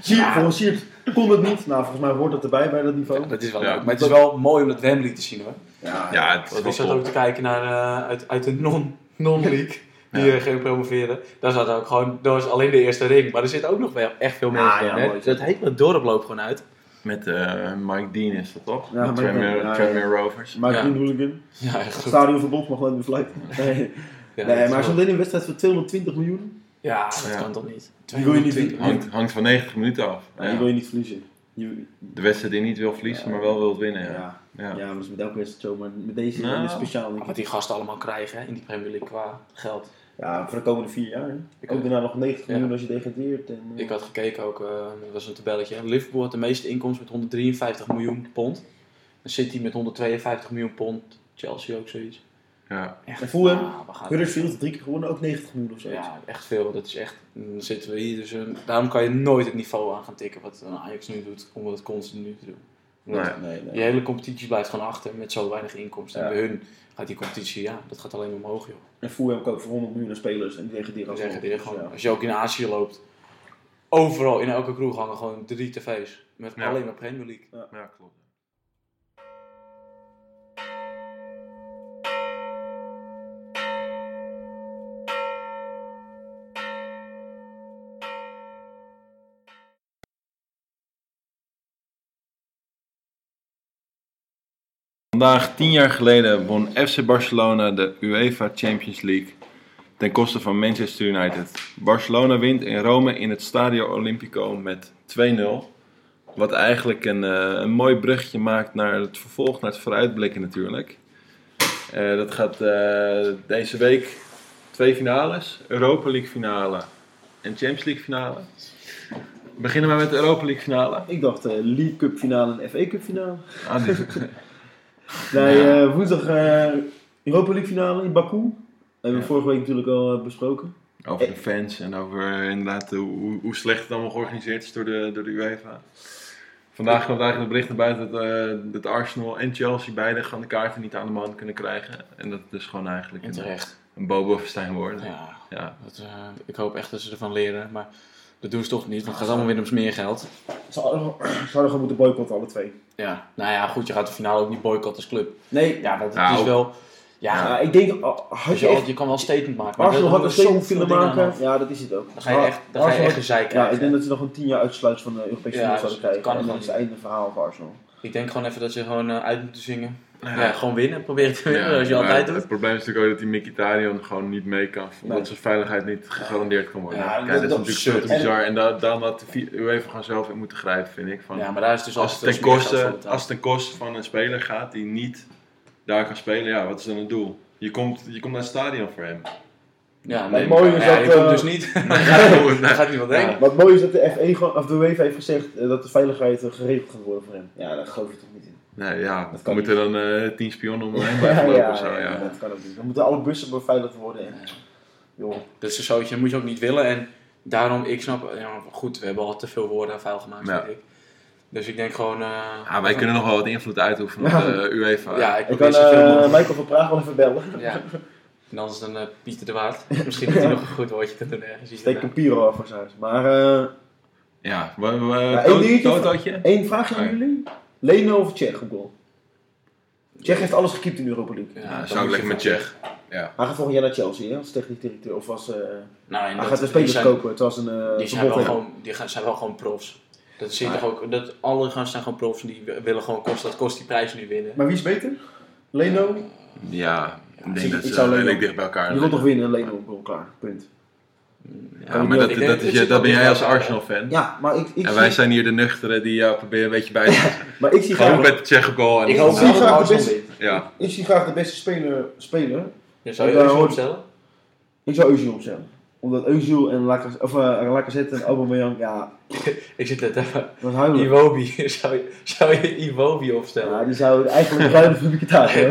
Siert, volgens Siert kon het niet. Nou, volgens mij hoort het erbij bij dat niveau. Dat is wel Ja. leuk. Maar het is wel mooi om dat Wembley te zien hoor. Ja, Ja, het is Want wel ik zat top. ook te kijken naar eh, uit, uit de non- non-league. die Ja. eh, ging promoveren. Daar zat ook gewoon, dat was alleen de eerste ring. Maar er zitten ook nog wel echt veel Ja, mensen ja, in. Hè? mooi. Dat hele dorp loopt gewoon uit. Met eh, Mike Dean is dat toch? Ja, Met Mike Tranmere Dean, ja, Tranmere Rovers. Maar Ja. geen hooligan. Ja, echt goed. Stadionverbod mag nooit meer fluiten. Nee, Ja, dat nee is maar zo'n wel- alleen een wedstrijd voor 220 miljoen. Ja, dat Ja. kan toch niet. Die wil je niet 220. Hangt, hangt van 90 minuten af. Ja, Die wil je niet verliezen. Je, De wedstrijd die niet wil verliezen, maar wel wil winnen. ja. Ja. Ja. Ja. maar dat is met elke wedstrijd zo. Maar met deze Nou. is speciaal. denk ik. Wat die gasten allemaal krijgen hè, in die Premier League qua geld. Ja, voor de komende vier jaar. hè. Ik- ook daarna nog 90 Ja. miljoen als je degradeert. En, eh, Ik had gekeken ook, eh, er was een tabelletje. Liverpool had de meeste inkomsten met 153 miljoen pond. En City met 152 miljoen pond. Chelsea ook zoiets. Ja. Echt, En Fulham? ah, we gaan- Huddersfield drie keer gewonnen, ook 90 miljoen of zo. Ja, echt veel. Dat is echt, dan zitten we hier. Dus, eh, daarom kan je nooit het niveau aan gaan tikken wat een Ajax nu doet, om dat continu te doen. Omdat Nee. Nee, nee. Die hele competitie blijft gewoon achter met zo weinig inkomsten. Ja. En bij hun gaat die competitie, ja, dat gaat alleen maar omhoog, joh. En Fulham koopt voor 100 miljoen aan spelers en die degraderen We als zeggen dit gewoon, Ja. als je ook in Azië loopt, overal in elke kroeg hangen gewoon drie tv's. Met Ja. alleen maar Premier League. ja, klopt. Vandaag, tien jaar geleden, won FC Barcelona de UEFA Champions League ten koste van Manchester United. Barcelona wint in Rome in het Stadio Olimpico met 2-0. Wat eigenlijk een, eh, een mooi bruggetje maakt naar het vervolg, naar het vooruitblikken natuurlijk. Eh, dat gaat eh, deze week twee finales. Europa League finale en Champions League finale. We beginnen maar met de Europa League finale. Ik dacht eh, League Cup finale en FA Cup finale. Ah, die- Nee, eh, woensdag eh, Europa League finale in Baku. Hebben we Ja. vorige week natuurlijk al eh, besproken. Over de fans en over eh, inderdaad eh, hoe, hoe slecht het allemaal georganiseerd is door de, door de UEFA. Vandaag kwam eigenlijk het bericht naar buiten dat, eh, dat Arsenal en Chelsea beide gaan de kaarten niet aan de man kunnen krijgen. En dat is gewoon eigenlijk En een, terecht. een bobo-verstijn worden. Ja. Ja, dat, eh, ik hoop echt dat ze ervan leren, maar dat doen ze toch niet, want het gaat allemaal weer om smeergeld. Ze hadden ze hadden gewoon moeten boycotten, alle twee. Ja, nou ja, goed, je gaat de finale ook niet boycotten als club. Nee, Ja, dat Nou. is wel... Ja, ja, ik denk, ah, had dus je je, echt je kan wel een statement maken. Maar Arsenal er had een hangen statement zoveel kunnen dingen aan maken. af. Ja, dat is het ook. Dan ga je echt, dan ga je Ah, Arsenal- echt gezeik Ja, krijgen. ik denk dat ze nog een 10 jaar uitsluit van de Europese Ja, Unie dat zouden krijgen. kan en dan gewoon is het einde verhaal voor Arsenal. gewoon even dat ze gewoon eh, uit moeten zingen. Ja, gewoon winnen. Probeer te winnen, als je maar altijd doet. Het probleem is natuurlijk ook dat die Mkhitaryan gewoon niet mee kan, omdat Nee. zijn veiligheid niet gegarandeerd kan worden. Ja, Kijk, dat- dat, is dat- natuurlijk veel te en- bizar. En da- daarom had de vi- UEFA gewoon zelf in moeten grijpen, vind ik. Van, Ja, maar daar is dus als, altijd het ten veel smeergeld voor koste, betaald. als het ten koste van een speler gaat die niet daar kan spelen, ja, wat is dan het doel? Je komt, je komt naar het stadion voor hem. Ja, Maar nee, het mooie maar is ja, dat, je komt eh, dus niet. dat gaat niemand denken. Wat mooi is dat de FE gewoon, of de UEFA heeft gezegd eh, dat de veiligheid eh, geregeld gaat worden voor hem. Ja, daar geloof je toch niet in. Nee, ja, Dat we kan moeten dan eh, tien spionnen om hem blijven lopen of zo, ja. dat kan ook niet. Dan moeten alle bussen beveiligd worden. En, joh, Dat is Dus een zootje, dat moet je ook niet willen. En daarom, ik snap, ja, goed, we hebben al te veel woorden aan vuil gemaakt, Ja. vind ik. Dus ik denk gewoon. eh, Ja, Ah, wij kunnen nog wel wat invloed uitoefenen op de UEFA. Ja, ik ik probeer kan zoveel eh, mogelijk. Michael van Praag wel even bellen. Ja. En anders dan eh, Pieter de Waard. Misschien dat hij nog een goed woordje kan doen ergens. iets Steek een piro af voor zijn huis. Maar eh, Ja, we, we, één to- dingetje- totootje? één vraagje aan Nee. jullie. Leno of Tsjech op goal? Tsjech heeft alles gekiept in de Europa League. daarna. Ja, dan zou ik moet je lekker met gewoon- Tsjech. Ja. Hij gaat volgend jaar naar Chelsea hè, als technisch directeur. Of als, eh, Nou, en hij dat- gaat de die spelers zijn- kopen. Het was een eh, Die zijn, verbod, hè. wel gewoon, die gaan, zijn wel gewoon profs. Dat zie je Maar- toch ook, dat alle gasten zijn gewoon profs en die wi- willen gewoon kost, dat kost die prijs nu winnen. Maar wie is beter? Leno? Ja, ik denk ik- dat ik ze zou Leno- redelijk dicht bij elkaar Je wilt toch liggen. winnen? Leno op goal, klaar. Punt. Ja, maar dat, Ik dat, denk- is, je- dat ben jij als Arsenal-fan. Ja, maar ik, ik, En wij zie, zijn hier de nuchteren die jou proberen een beetje bij te zetten. maar ik zie Gewoon graag... met de Tsjech goal. En Ik hoop zie wel dat graag de Arsenal beste- wint. Ja, Ik zie graag de beste speler spelen. Ja, Zou je Ja, dat hoor. opstellen? Ik zou Özil opstellen. Omdat Özil en Lacaz- of, eh, Lacazette en Aubameyang, ja, Ik zit net even... dat huilen. Iwobi, zou je, zou je Iwobi opstellen? Ja, die zou eigenlijk ruilen voor Mkhitaryan.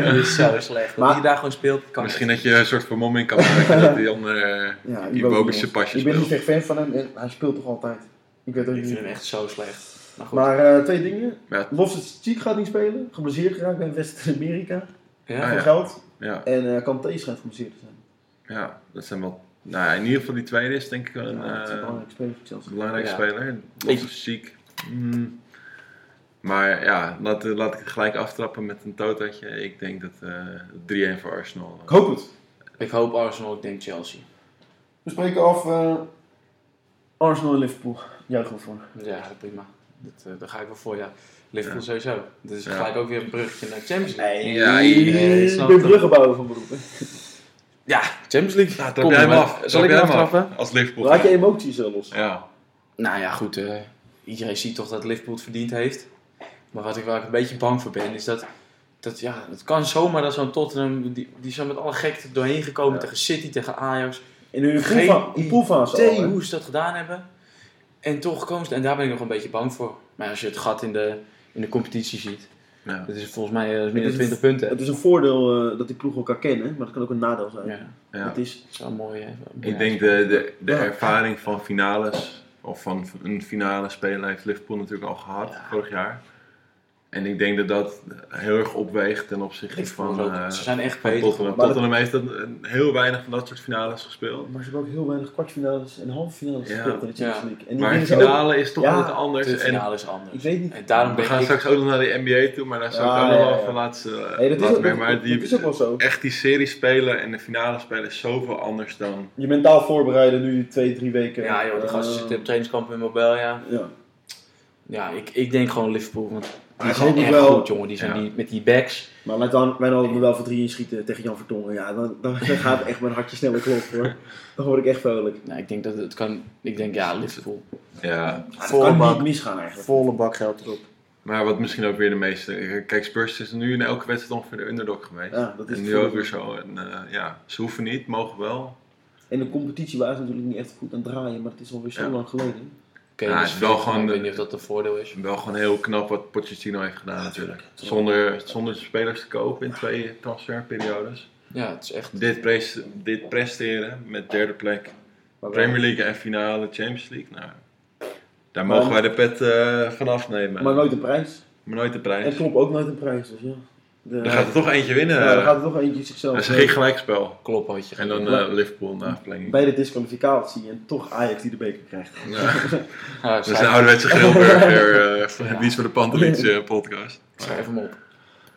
dat hè. is zo slecht. Dat Maar- hij daar gewoon speelt, kan misschien dat je een soort vermomming kan maken dat die ander... eh, Ja, Die Iwobi, Iwobi jongens. zijn pasje Ik ben niet speelt. echt fan van hem en hij speelt toch altijd. Ik weet het ook Ik vind niet. hem echt zo slecht. Maar goed. Maar eh, twee dingen. Ja. Loftus Cheek gaat niet spelen. Geblesseerd geraakt bij West-Amerika. ja? Ah, Voor ja. geld. Ja, En eh Kanté schijnt geblesseerd te zijn. ja, dat zijn wel... Nou, ja, in ieder geval die tweede is denk ik wel een Ja, dat is een eh, belangrijke speler voor Chelsea. belangrijke Ja. speler. Lots of ziek. Mm. Maar ja, laat, laat ik het gelijk aftrappen met een tototje. Ik denk dat eh 3-1 voor Arsenal. Ik hoop het. Ik hoop Arsenal, ik denk Chelsea. We spreken af eh, Arsenal en Liverpool. Juichen we voor. Ja, prima. Dat, eh, daar ga ik wel voor, ja. Liverpool sowieso. Dus Dat is gelijk ook weer een bruggetje naar Champions League. Ja, iedereen Ik snapt ben het. bruggen bouwen van beroep. hè. Ja, Champions League. Nou, Kom, trap jij hem maar. af. Zal Trap ik jij hem hem af aftrappen? Als Liverpool. Laat je emoties eh, los. Ja. Nou ja, goed. eh, iedereen ziet toch dat Liverpool het verdiend heeft. Maar wat ik, waar ik een beetje bang voor ben, is dat, dat ja, het kan zomaar dat zo'n Tottenham, die, die zijn met alle gekte doorheen gekomen tegen City, tegen Ajax. In hun Geen poolfa- in poolfase al, Tee hè? hoe ze dat gedaan hebben. En toch komen ze, en daar ben ik nog een beetje bang voor. Maar als je het gat in de, in de competitie ziet, Ja. Dus dat is volgens mij eh, meer Het dan is- 20 punten. Het is een voordeel eh, dat die ploegen elkaar kennen, maar dat kan ook een nadeel zijn. Ja, Ja. Het is, dat is wel mooi. hè. Ja. Ik denk de, de, de ervaring van finales, of van een finale spelen, heeft Liverpool natuurlijk al gehad Ja. vorig jaar. En ik denk dat dat heel erg opweegt ten opzichte Liverpool van, is ook- eh, ze zijn echt van beter. Tottenham. Maar dat- Tottenham heeft dat, een- heel weinig van dat soort finales gespeeld. maar ze hebben ook heel weinig kwartfinales en halve finales Ja. gespeeld in de Champions Ja. League. En die Maar een winnen ze ook- finale is toch Ja, altijd anders. De En finale is anders. ik weet niet. En daarom we ben gaan ik... straks ook nog naar de NBA toe, maar daar zou Ah, ik ook nog ja, wel ja. van laten Nee, dat, is ook, mee. dat- Maar dat die, is ook wel zo. echt die serie spelen en de finale spelen is zoveel anders dan... Je mentaal voorbereiden nu die twee, drie weken. Ja joh, die gasten Eh, zitten op trainingskamp in Mobelia. Ja. Ja, ik, ik denk gewoon Liverpool. Want die ik zijn hoop echt wel- goed, jongen. Die zijn Ja. die, met die backs. Maar laat dan Wijnaldum er wel voor drie inschieten tegen Jan Vertongen. Ja, dan, dan gaat echt mijn hartje sneller kloppen hoor. Dan word ik echt vrolijk. Nou, ik denk dat het kan... Ik denk, ja, Liverpool. Ja, Het Volle kan niet bak. misgaan eigenlijk. Volle bak geld erop. Maar wat misschien ook weer de meeste. Kijk, Spurs is nu in elke wedstrijd ongeveer de underdog geweest. Ja, dat is en het nu ook voordeel. weer zo. En, eh, ja, ze hoeven niet, mogen wel. En de competitie waren ze natuurlijk niet echt goed aan het draaien, maar het is alweer zo Ja. lang geleden. Oké, Ja, dus het is wel ik gewoon de- weet niet of dat een voordeel is. Wel gewoon heel knap wat Pochettino heeft gedaan natuurlijk. Zonder, zonder spelers te kopen in twee transferperiodes. Ja, het is echt... Dit, pres- dit presteren met derde plek. Maar wel- Premier League en finale Champions League. Nou, daar mogen wij de pet eh vanaf nemen. Maar nooit een prijs. Maar nooit de En prijs. Klopp ook nooit een prijs, dus ja. De, Dan gaat er toch eentje winnen. Nou, ja, dan gaat Ja, er toch eentje zichzelf. dat is geen gelijkspel. Kloppen had je En dan eh, Liverpool na verlenging. bij de disqualificatie en toch Ajax die de beker krijgt. Ja. Ja, Dat is schrijf- een ouderwetse grillburger eh, van Ja. het Niets voor de Pantelits eh, podcast. Schrijf hem op.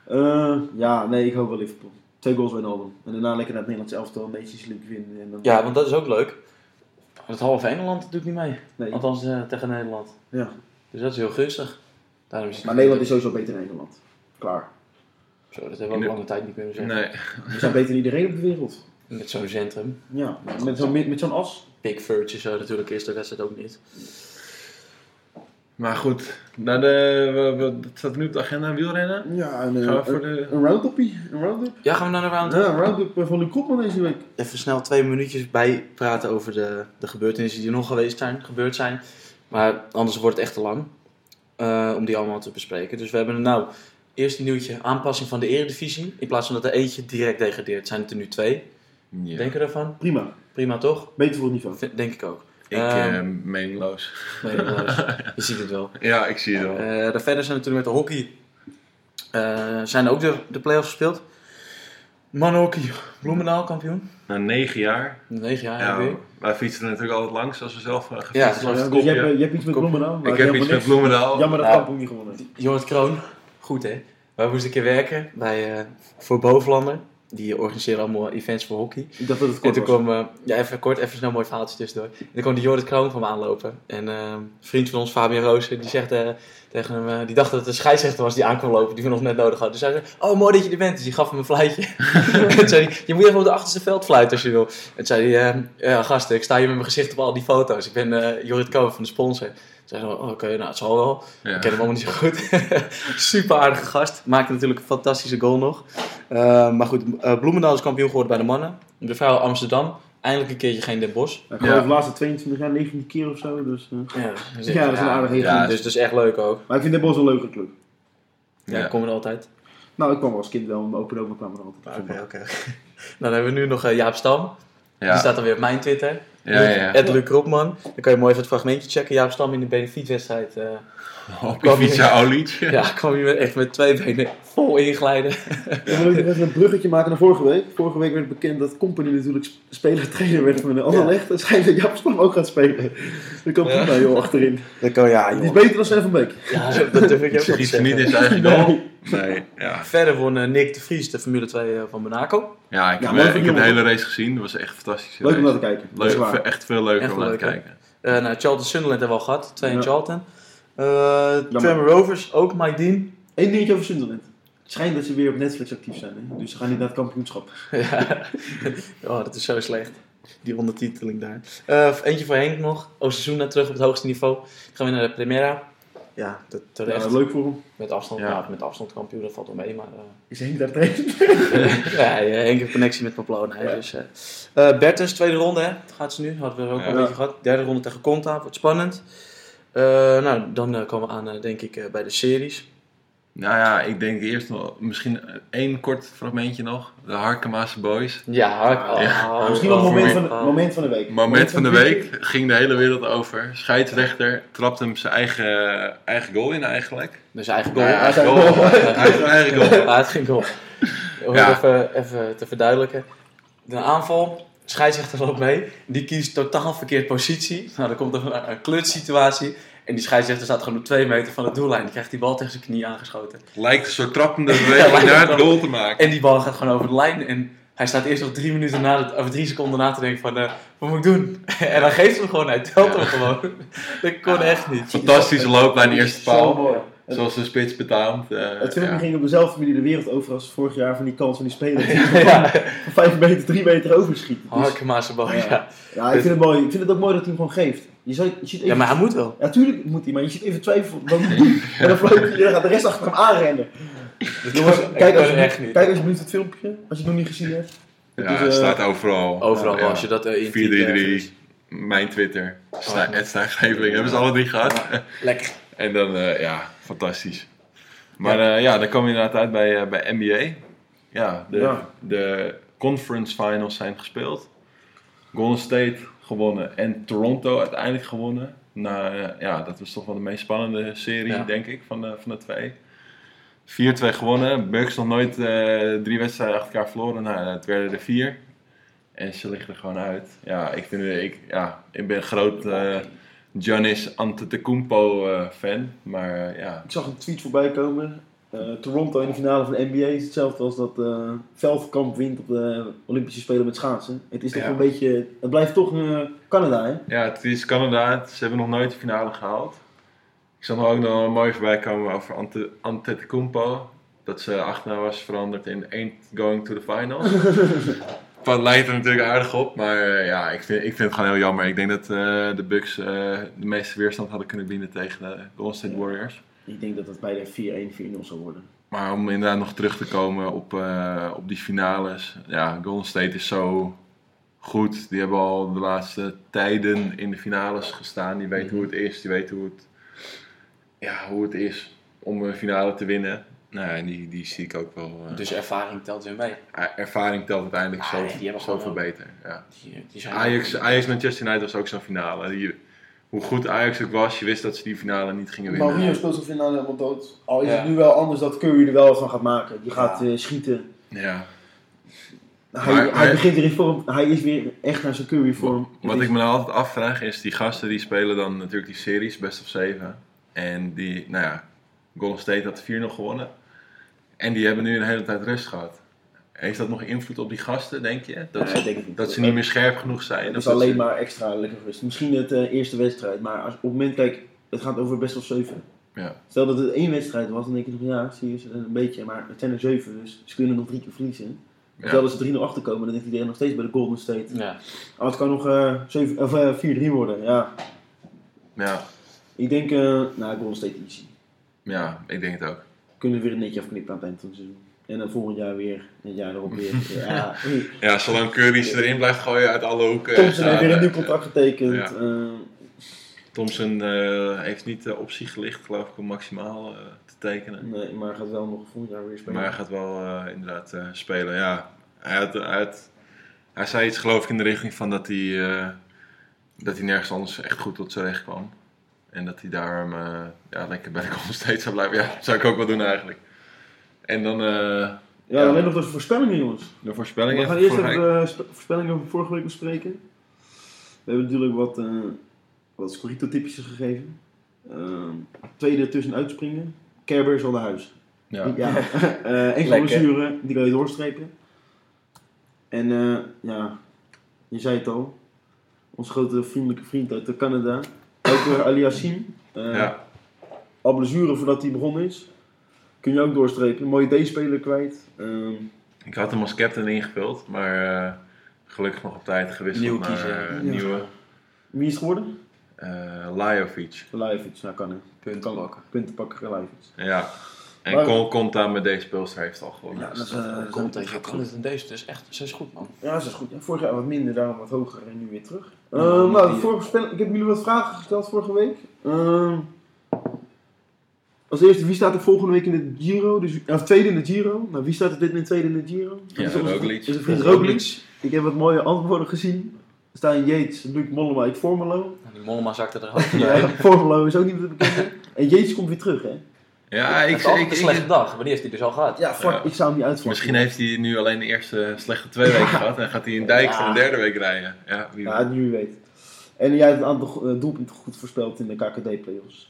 Eh, ja, nee, ik hoop wel Liverpool. Twee goals Wijnaldum. En daarna lekker naar het Nederlands elftal Nations League winnen. En dan... Ja, want dat is ook leuk. Het halve Engeland doet niet mee. nee. Althans, eh, tegen Nederland. ja. Dus dat is heel gunstig. Daarom is het Maar Nederland is sowieso beter dan Engeland. Klaar. Zo, dat hebben we ook lange tijd niet kunnen zeggen. Nee, We zijn beter dan iedereen op de wereld. Met zo'n centrum. Ja, met zo'n met zo'n as. Pickford is zo natuurlijk is de wedstrijd ook niet. maar goed. Naar de, we, we- het staat nu op de agenda, wielrennen. Ja, een, Gaan we eh, voor een, de... een roundupie. Een roundup. Ja, gaan we naar de round Ja, een roundup eh, van de kopman deze week. Even snel twee minuutjes bijpraten over de, de gebeurtenissen die er nog geweest zijn, gebeurd zijn. Maar anders wordt het echt te lang eh, om die allemaal te bespreken. Dus we hebben er nou eerst een nieuwtje aanpassing van de eredivisie. In plaats van dat er eentje direct degradeert, zijn het er nu twee. Ja. Denk je daarvan? Prima. Prima toch? Beter voor het niveau. V- Denk ik ook. Ik Ehm, eh, meningsloos. nee, helaas. je ziet het wel. Ja, ik zie het wel. Eh, daar verder zijn natuurlijk met de hockey. eh, zijn ook de, de play-offs gespeeld. Mannenhockey, Bloemendaal kampioen. Na negen jaar. 9 jaar Ja, alweer. wij fietsen er natuurlijk altijd langs als we zelf uh, Ja, gefietst langs Ja, het dus je, kopje. hebt, eh, je hebt iets met Kopje. Bloemendaal. maar ik heb helemaal iets met niks. Bloemendaal. Jammer dat Ja. Kampong niet gewonnen heeft. Jorrit Kroon, goed hè. Wij moesten een keer werken bij, eh voor Bovenlander. Die organiseren allemaal events voor hockey. Ik dacht dat het En kort toen was. kwam, eh, ja even kort, even snel een mooi verhaaltje tussendoor. En toen kwam die Jorrit Kroon van me aanlopen. En eh, een vriend van ons, Fabian Roosen, die zegt eh, tegen hem, eh, die dacht dat het een scheidsrechter was die aan kwam lopen, die we nog net nodig hadden. Dus hij zei, oh mooi dat je er bent. Dus die gaf hem een fluitje. en toen zei hij, je moet even op de achterste veld fluiten als je wil. En toen zei hij, eh, ja gasten, ik sta hier met mijn gezicht op al die foto's. Ik ben eh Jorrit Kroon van de sponsor. Toen zei hij, oh, oké, nou het zal wel. Ja. Ik ken hem allemaal niet zo goed. Super aardige gast. Maakte natuurlijk een fantastische goal nog. Eh, maar goed, eh, Bloemendaal is kampioen geworden bij de mannen. De vrouwen Amsterdam. Eindelijk een keertje geen Den Bosch. Ik geloof Ja. de laatste 22 jaar 19 keer of zo. Dus, eh. Ja, dus Ja, dat is een aardige ja, hit. dus, dus echt leuk ook. Maar ik vind Den Bosch een leuke club. Ja, Ja. ik kom er altijd. Nou, ik kwam wel als kind wel, maar open open kwam er altijd. op voetbal. Dan hebben we nu nog eh, Jaap Stam. Die Ja. staat dan weer op mijn Twitter. Ja, ja, ja. Ed Luc Ropman. Dan kan je mooi even het fragmentje checken. Jaap Stam in de benefietwedstrijd. eh Op je Kwam- fiets jouw liedje. ja, kwam hier echt met twee benen vol inglijden. En dan wil ik nog even een bruggetje maken naar vorige week. Vorige week werd bekend dat Company natuurlijk sp- speler-trainer werd van een ander licht. Het schijnt dat Jaap Stam ook gaat spelen. Dat kan Ja. prima, joh, achterin. Dat kan ja, Die is beter dan Sven van Beek. Ja, dat durf ik Ik ook wel zeg te iets niet zeggen. in zijn eigen goal. Nee, ja. Verder won eh, Nick de Vries de Formule 2 eh, van Monaco. Ja, ik, Ja, heb, leuk eh, ik heb de jongen. hele race gezien. Dat was echt fantastisch. Leuk om naar te kijken. dat is waar. echt veel leuker Echt om naar te leuk, hè? kijken. Eh, nou, Charlton Sunderland hebben we al gehad. Twee in Ja. Charlton. Eh Trevor Rovers, ook Mike Dean. Eén dingetje over Sunderland. Het schijnt dat ze weer op Netflix actief zijn. Hè? Dus ze gaan niet naar het kampioenschap. Ja. oh, dat is zo slecht. Die ondertiteling daar. Eh, eentje voor Henk nog. Osasuna terug op het hoogste niveau. Dan gaan we naar de Primera. ja, dat Ja, terecht. dat is leuk voor hem. Met afstand, Ja. ja. met afstand kampioen, dat valt wel mee. Maar, eh, Is Henk daar trainen? ja, eh, Henk heeft connectie met Pamplona. hè, Dus, eh. Eh, Bertens, tweede ronde, hè? Dat gaat ze nu. Hadden we ook al een Ja. beetje gehad. Derde ronde tegen Conta, wordt spannend. Eh, nou, dan eh, komen we aan, eh, denk ik, eh, bij de series. Nou ja, ik denk eerst nog misschien één kort fragmentje nog. De Harkema's Boys. Ja, oh, oh, Misschien wel oh, het moment van, de, oh. moment van de week. Moment van de het week publiek. ging de hele wereld over. Scheidsrechter trapt hem zijn eigen, eigen goal in eigenlijk. Dus eigen goal. Nou ja, Ja, eigen goal. Eigen- eigen goal. het ging goal. Om Ja. het even, even te verduidelijken. De aanval, scheidsrechter loopt mee. Die kiest totaal verkeerd positie. Nou, dan komt er een, een klutsituatie. En die scheidsrechter staat gewoon op twee meter van de doellijn. Die krijgt die bal tegen zijn knie aangeschoten. Lijkt een soort trappende lijkt beweging het naar het wel. goal te maken. En die bal gaat gewoon over de lijn. En hij staat eerst nog drie, minuten na de, of drie seconden na te denken van... eh, wat moet ik doen? en dan geeft ze hem gewoon. Hij telt hem gewoon. dat kon Ah. echt Dus- niet. Fantastische loop bij de eerste Zo paal. mooi. Het- Zoals de spits betaamt. eh, Het filmpje ja. ging op dezelfde manier de wereld over als vorig jaar van die kans van die speler. Die ja, van 5 meter, 3 meter overschiet. Dus, Harkema's bal, Ja. ja. ja, ik vind, het mooi. ik vind het ook mooi dat hij hem gewoon geeft. Je, zou, je ziet even, Ja, maar hij moet wel. Ja, tuurlijk moet hij, maar je ziet even twijfel. Wat moet hij doen? En dan, vloog hij- dan gaat de rest achter hem aanrennen. Jongens, kijk, als je, echt niet. kijk alsjeblieft het filmpje, als je het nog niet gezien hebt. Het Ja, is, het eh, staat overal. Overal, Ja. als je dat eh, in 4-3-3, mijn Twitter. Sta- Oh. Ed Stijngeveling, hebben ze alle drie gehad. Lekker. En dan, eh, ja, fantastisch. Maar ja, ja dan kwam je inderdaad uit bij, eh, bij NBA. Ja de, Ja. de conference finals zijn gespeeld. Golden State gewonnen en Toronto uiteindelijk gewonnen. Nou eh, ja, dat was toch wel de meest spannende serie, Ja. denk ik, van de, van de twee. 4-2 gewonnen. Bucks nog nooit eh, drie wedstrijden achter elkaar verloren. Nou, het werden er vier. En ze liggen er gewoon uit. Ja, ik, vind, ik, ja, ik ben een groot eh Giannis Antetokounmpo eh, fan. Maar eh, ja, Ik zag een tweet voorbij komen. Eh, Toronto in de finale van de NBA is hetzelfde als dat eh Veldkamp wint op de Olympische Spelen met schaatsen. Het is toch Ja. een beetje, het blijft toch eh, Canada hè? ja, het is Canada. Ze hebben nog nooit de finale gehaald. Ik zag nog ook nog een mooi voorbij komen over Ante, Antetokounmpo. Dat ze achterna was veranderd in Ain't Going to the Finals. Dat lijkt er natuurlijk aardig op. Maar eh, ja, ik vind, ik vind het gewoon heel jammer. Ik denk dat eh, de Bucks eh, de meeste weerstand hadden kunnen bieden tegen de Golden State Warriors. Ik denk dat het bij de 4-1, 4-0 zal worden. Maar om inderdaad nog terug te komen op, eh, op die finales. Ja, Golden State is zo goed. Die hebben al de laatste tijden in de finales gestaan. Die weten hoe het is. Die weten hoe het, ja, hoe het is om een finale te winnen. Nou ja, en die, die zie ik ook wel. eh, Dus ervaring telt weer mee. er- ervaring telt uiteindelijk Ah, zo, die hebben gewoon zoveel wel- beter. Ja. Die, eh, die zijn Ajax, Ajax Manchester United was ook zo'n finale. Die- hoe goed Ajax ook was, je wist dat ze die finale niet gingen winnen. Mourinho speelt zijn finale helemaal dood. Al is Ja. het nu wel anders dat Curry er wel van gaat maken. Die gaat Ja. eh, schieten. Ja. Hij, Maar- hij maar- begint weer in vorm. Hij is weer echt naar zijn Curry vorm. Het Wat is- ik me nou altijd afvraag is, die gasten die spelen dan natuurlijk die series, best of 7. En die, nou ja, Golden State had 4-0 gewonnen. En die hebben nu een hele tijd rust gehad. Heeft dat nog invloed op die gasten, denk je? Dat, Nee, ze, denk ik niet. dat ze niet meer scherp genoeg zijn? Het Of is dat alleen ze- maar extra lekker rust. Misschien het eh, eerste wedstrijd, maar als, op het moment, kijk, het gaat over best wel zeven. Ja. Stel dat het één wedstrijd was, dan denk je nog, ja, zie je, ze een beetje, maar het zijn er zeven, dus ze kunnen nog drie keer verliezen. Ja. Stel dat ze 3-0 achterkomen, dan denkt iedereen nog steeds bij de Golden State. Ja. Oh, het kan nog eh, zeven- of, eh, 4-3 worden, ja. Ja, Ik denk, eh nou, Golden State easy. ja, ik denk het ook. Kunnen we weer een netje afknippen aan het eind van het seizoen. En dan volgend jaar weer, het jaar erop weer. ja, Ja, zolang Curry ze erin blijft gooien uit alle hoeken. Thompson heeft Ja, weer een eh, nieuw contract getekend. Ja. eh, Thompson eh, heeft niet de optie gelicht, geloof ik, om maximaal eh, te tekenen. nee, maar gaat wel nog volgend jaar weer spelen. Maar hij gaat wel eh, inderdaad eh, spelen, ja. Hij, had, hij, had- hij zei iets geloof ik in de richting van dat hij, eh, dat hij nergens anders echt goed tot zijn recht kwam. En dat hij daarom eh, ja, lekker bij de Golden State zou blijven. Ja, dat zou ik ook wel doen eigenlijk. En dan eh, ja, ja. alleen nog de voorspellingen, jongens. de We voorspellingen. gaan eerst voor- even de spe- voorspellingen van vorige week bespreken. We hebben natuurlijk wat, eh wat Scorito-tipjes gegeven. Ehm, tweede tussen uitspringen. Kerber is al naar huis. Ja. Ja. Eh enkele Lekker. blessure, die kan je doorstrepen. En eh, ja, je zei het al. Onze grote vriendelijke vriend uit Canada. Ook weer Aliassim. Eh, Ja. Al blessure voordat hij begonnen is. Kun je ook doorstrepen. Mooie D-speler kwijt. Ehm, Ik had hem als captain ingevuld, maar eh, gelukkig nog op tijd gewisseld Nieuwe naar kiezen, ja. eh, Ja. nieuwe. wie is het geworden? eh Lajovic. Lajovic, nou kan hè. punten pakken. punten pakken gelijk. Ja. En Maar- Kon Conta met deze speelster heeft al gewonnen. Ja, Dus dat is, dat- eh, Komt dat dat je gaat kan het in deze, dus echt, ze is goed man. Ja, dat is goed. Ja, vorig jaar wat minder, daarom wat hoger en nu weer terug. Ja, Ehm, maar nou, die- vorige spel- ik heb jullie wat vragen gesteld vorige week. Ehm, als eerste, wie staat er volgende week in de Giro? Dus, of tweede in de Giro? Nou, wie staat er dit moment tweede in de Giro? Ja, is onze- Roglic. Is een vriend Roglic. Roglic. Ik heb wat mooie antwoorden gezien. Er staan Yates, Luc Mollema, ik Formelo. Nou, Die Mollema zakte er hard in. Ja, Formelo is ook niet meer bekend. En Yates komt weer terug, hè? ja, Ik ik, had ik, een ik- slechte dag, maar die heeft hij dus al gehad. Ja, fuck, Ja. ik zou hem niet uitvallen. Misschien heeft hij nu alleen de eerste slechte twee weken gehad. En gaat hij een dijk van de derde week rijden. Ja, wie Ja, nu weet. En jij hebt een aantal go- eh, doelpunten goed voorspeld in de KKD-playoffs.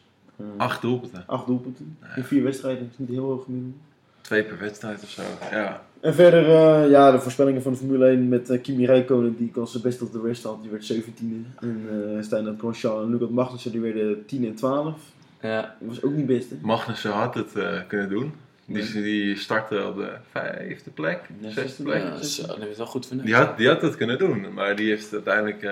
Acht doelpunten. Acht doelpunten in vier wedstrijden. Dat is niet heel hoog gemiddeld. Twee per wedstrijd of zo. Ja. En verder, eh, ja, de voorspellingen van de Formule 1 met eh, Kimi Räikkönen, die kan zijn best op de rest had. Die werd 17e. En eh Stijn Prochal en Lucas Magnussen, die werden 10 en 12. Ja. Dat was ook niet best, hè? Magnussen had het eh, kunnen doen. Die, die startte op de vijfde plek, Ja, zesde zesde plek. Ja, zo, dat is wel goed voor Die, had, die had het kunnen doen, maar die heeft het uiteindelijk eh,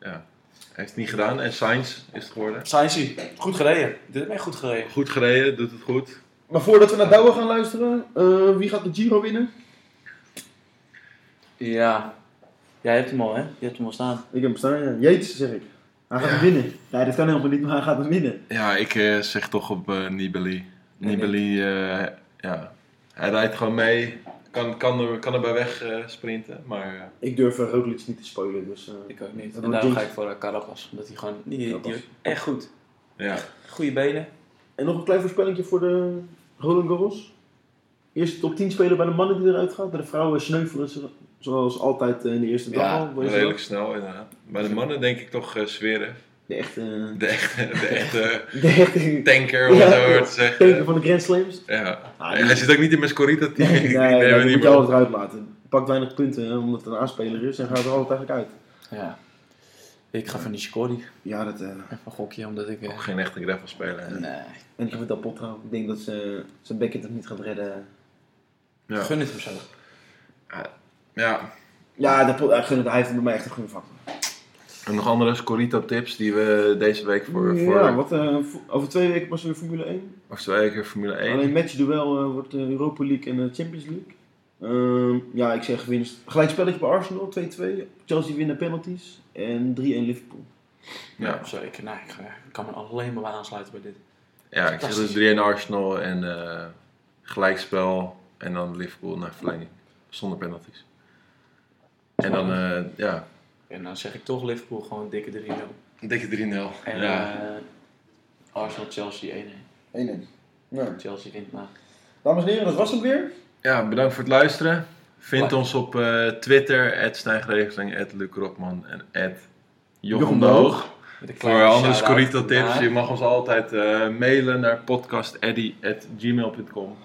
ja, heeft het niet gedaan. En Sainz is het geworden. Sainzie, goed gereden. Dit heb ik goed gereden. Goed gereden, doet het goed. Maar voordat we naar Douwe gaan luisteren, eh, wie gaat de Giro winnen? Ja. Jij hebt hem al, hè? Je hebt hem al staan. Ik heb hem staan, ja. Jeets, zeg ik. Hij gaat hem winnen. Nee, dat kan helemaal niet, maar hij gaat hem winnen. Ja, ik eh, zeg toch op eh, Nibali. Nibali, eh, ja, hij rijdt gewoon mee. Kan, kan, er, kan er bij weg eh, sprinten, maar... eh, Ik durf eh, Roglic niet te spoilen, dus... eh, Ik ook niet. Dat En wordt daarom ga ding. ik voor eh, Carapaz. Omdat hij gewoon... Die, die, Carapaz. echt goed. Ja, Goede benen. En nog een klein voorspellingje voor de Roland Garros. Eerst top 10 spelen bij de mannen die eruit gaat. Bij de vrouwen sneuvelen ze zoals altijd eh, in de eerste dag Ja, al. Weet je wel? redelijk snel inderdaad. Bij de mannen denk ik toch eh Zweren. De echte, De echte, de echte de echte tanker, om het Ja, zo maar ja. te zeggen. teken van de Grand Slams. Ja. Ah, En hij zit ook niet in mijn Scorita team. Nee, Die nee, nemen we dat niet moet meer je op. altijd eruit laten. Pakt weinig punten hè, omdat het een aanspeler is en gaat er altijd eigenlijk uit. Ja. Ik ga voor Nishikori. Ja, dat, eh, Even een gokje, omdat ik... eh, Ook Geen echte gravel spelen. hè. nee. en ik heb het al pot Ik denk dat ze zijn bekken het niet gaat redden. Ja. Gun het hem zo. Ja. Ja, dat pot, hij gunt het- hij heeft bij mij echt een gunfactor. En nog andere Scorita tips die we deze week voor, voor Ja, wat, eh, vo- over twee weken pas weer Formule 1. of twee keer Formule 1. Alleen matchduel eh wordt de Europa League en de Champions League. Ehm, ja, ik zeg winst. Gelijk spelletje bij Arsenal, 2-2. Chelsea winnen penalties. En 3-1 Liverpool. Ja. Zeker. Nou, ik, eh, ik kan me alleen maar bij aansluiten bij dit. Ja, ik zeg dus 3-1 Arsenal en eh, gelijkspel. En dan Liverpool naar verlenging. Zonder penalties. En dan, eh, ja, En dan zeg ik toch Liverpool gewoon dikke 3-0. dikke 3-0. En Ja. eh, Arsenal-Chelsea 1-1. 1-1. Nou, Chelsea wint maar. dames en heren, dat was hem weer. Ja, bedankt voor het luisteren. Vind Like. ons op eh, Twitter, @stijngeregeling, @lucrokman en @jochem Jochem de de Hoog. Met een kleine Voor andere shout-out Scorito tips, naar- je mag ons altijd eh, mailen naar podcasteddy.gmail.com.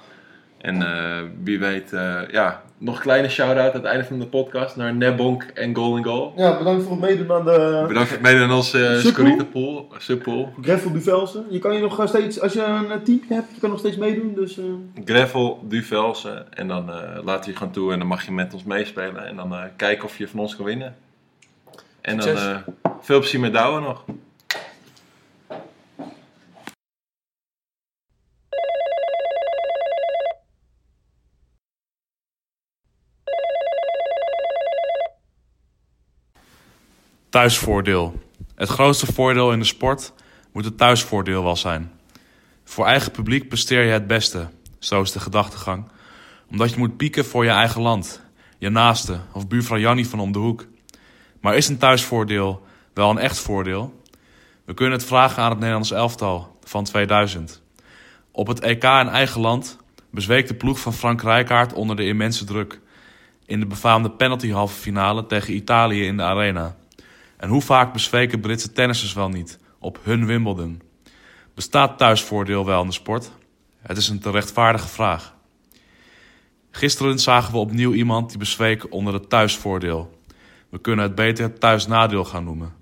En eh, wie weet, eh, ja, nog een kleine shout-out aan het einde van de podcast naar Nebonk en Golden Goal. Ja, bedankt voor het meedoen aan de Bedankt voor het meedoen aan onze uh, Subpool. Scorito pool, eh, subpool. Greffel Duvelsen. Je kan je nog steeds, als je een eh, teampje hebt, je kan nog steeds meedoen. Dus eh, Gravel, Duvelsen. En dan eh laat je gewoon toe en dan mag je met ons meespelen. En dan eh, kijken of je van ons kan winnen. En dan Succes. eh, veel plezier met Douwen nog. Thuisvoordeel. Het grootste voordeel in de sport moet het thuisvoordeel wel zijn. Voor eigen publiek presteer je het beste, zo is de gedachtegang. Omdat je moet pieken voor je eigen land, je naaste of buurvrouw Jannie van om de hoek. Maar is een thuisvoordeel wel een echt voordeel? We kunnen het vragen aan het Nederlands elftal van 2000. Op het EK in eigen land bezweek de ploeg van Frank Rijkaard onder de immense druk. In de befaamde penaltyhalve finale tegen Italië in de Arena. En hoe vaak bezweken Britse tennissers wel niet op hun Wimbledon? Bestaat thuisvoordeel wel in de sport? Het is een terechtvaardige vraag. Gisteren zagen we opnieuw iemand die bezweek onder het thuisvoordeel. We kunnen het beter het thuisnadeel gaan noemen.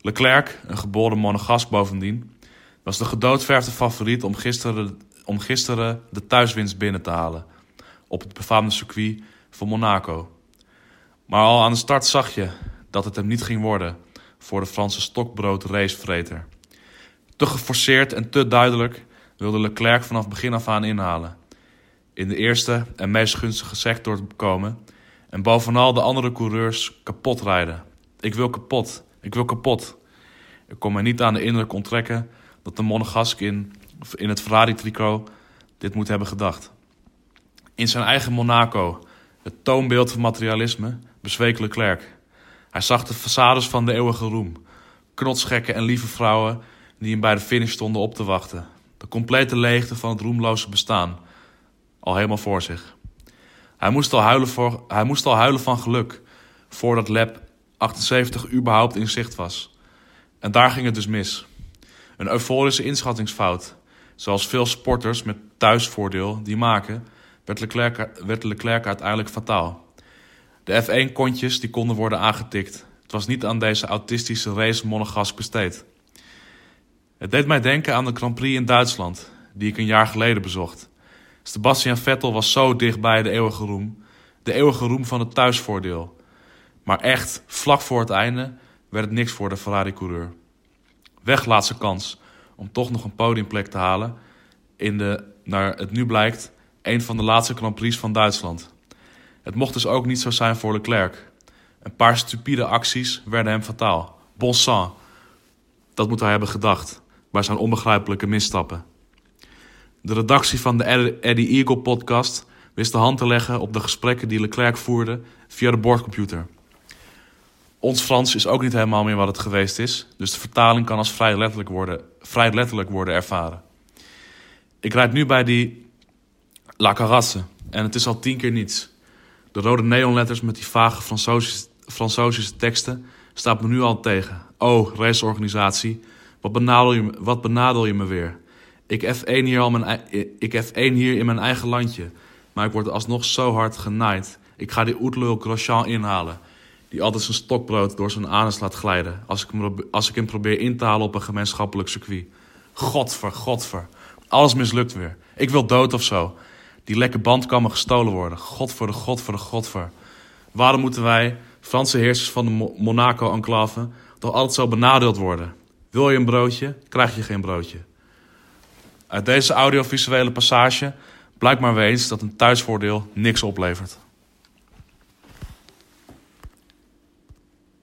Leclerc, een geboren monegask bovendien, was de gedoodverfde favoriet om gisteren, om gisteren de thuiswinst binnen te halen. Op het befaamde circuit van Monaco. Maar al aan de start zag je dat het hem niet ging worden voor de Franse stokbrood racevreter. Te geforceerd en te duidelijk wilde Leclerc vanaf begin af aan inhalen. In de eerste en meest gunstige sector komen. En bovenal de andere coureurs kapot rijden. Ik wil kapot. Ik wil kapot. Ik kon me niet aan de indruk onttrekken dat de Monegaskin in het Ferrari-tricot dit moet hebben gedacht. In zijn eigen Monaco, het toonbeeld van materialisme, bezweek Leclerc. Hij zag de façades van de eeuwige roem. Knotsgekken en lieve vrouwen die hem bij de finish stonden op te wachten. De complete leegte van het roemloze bestaan. Al helemaal voor zich. Hij moest al huilen, voor, hij moest al huilen van geluk. Voordat lap 78 überhaupt in zicht was. En daar ging het dus mis. Een euforische inschattingsfout. Zoals veel sporters met thuisvoordeel die maken, werd Leclerc, werd Leclerc uiteindelijk fataal. De F1-kontjes die konden worden aangetikt. Het was niet aan deze autistische race Monegask besteed. Het deed mij denken aan de Grand Prix in Duitsland, die ik een jaar geleden bezocht. Sebastian Vettel was zo dichtbij de eeuwige roem, de eeuwige roem van het thuisvoordeel. Maar echt, vlak voor het einde, werd het niks voor de Ferrari-coureur. Weg laatste kans om toch nog een podiumplek te halen in de, naar het nu blijkt, een van de laatste Grand Prix van Duitsland. Het mocht dus ook niet zo zijn voor Leclerc. Een paar stupide acties werden hem fataal. Bon sang. Dat moet hij hebben gedacht bij zijn onbegrijpelijke misstappen. De redactie van de Ed- Eddie Eagle podcast wist de hand te leggen op de gesprekken die Leclerc voerde via de boordcomputer. Ons Frans is ook niet helemaal meer wat het geweest is, dus de vertaling kan als vrij letterlijk worden, vrij letterlijk worden ervaren. Ik rijd nu bij die La Carasse en het is al tien keer niets. De rode neonletters met die vage Fransozische- Fransozische teksten staat me nu al tegen. Oh, raceorganisatie, wat benadel je, me- wat benadel je me weer? Ik F1, hier al mijn, ei- ik F1 hier in mijn eigen landje, maar ik word alsnog zo hard genaaid. Ik ga die oetlul Grosjean inhalen, die altijd zijn stokbrood door zijn anus laat glijden... als ik hem, probe- als ik hem probeer in te halen op een gemeenschappelijk circuit. Godver, godver, alles mislukt weer. Ik wil dood of zo. Die lekke band kan me gestolen worden. God voor de God voor de God voor. Waarom moeten wij, Franse heersers van de Mo- Monaco-enclave, toch altijd zo benadeeld worden? Wil je een broodje, krijg je geen broodje. Uit deze audiovisuele passage blijkt maar weer eens dat een thuisvoordeel niks oplevert.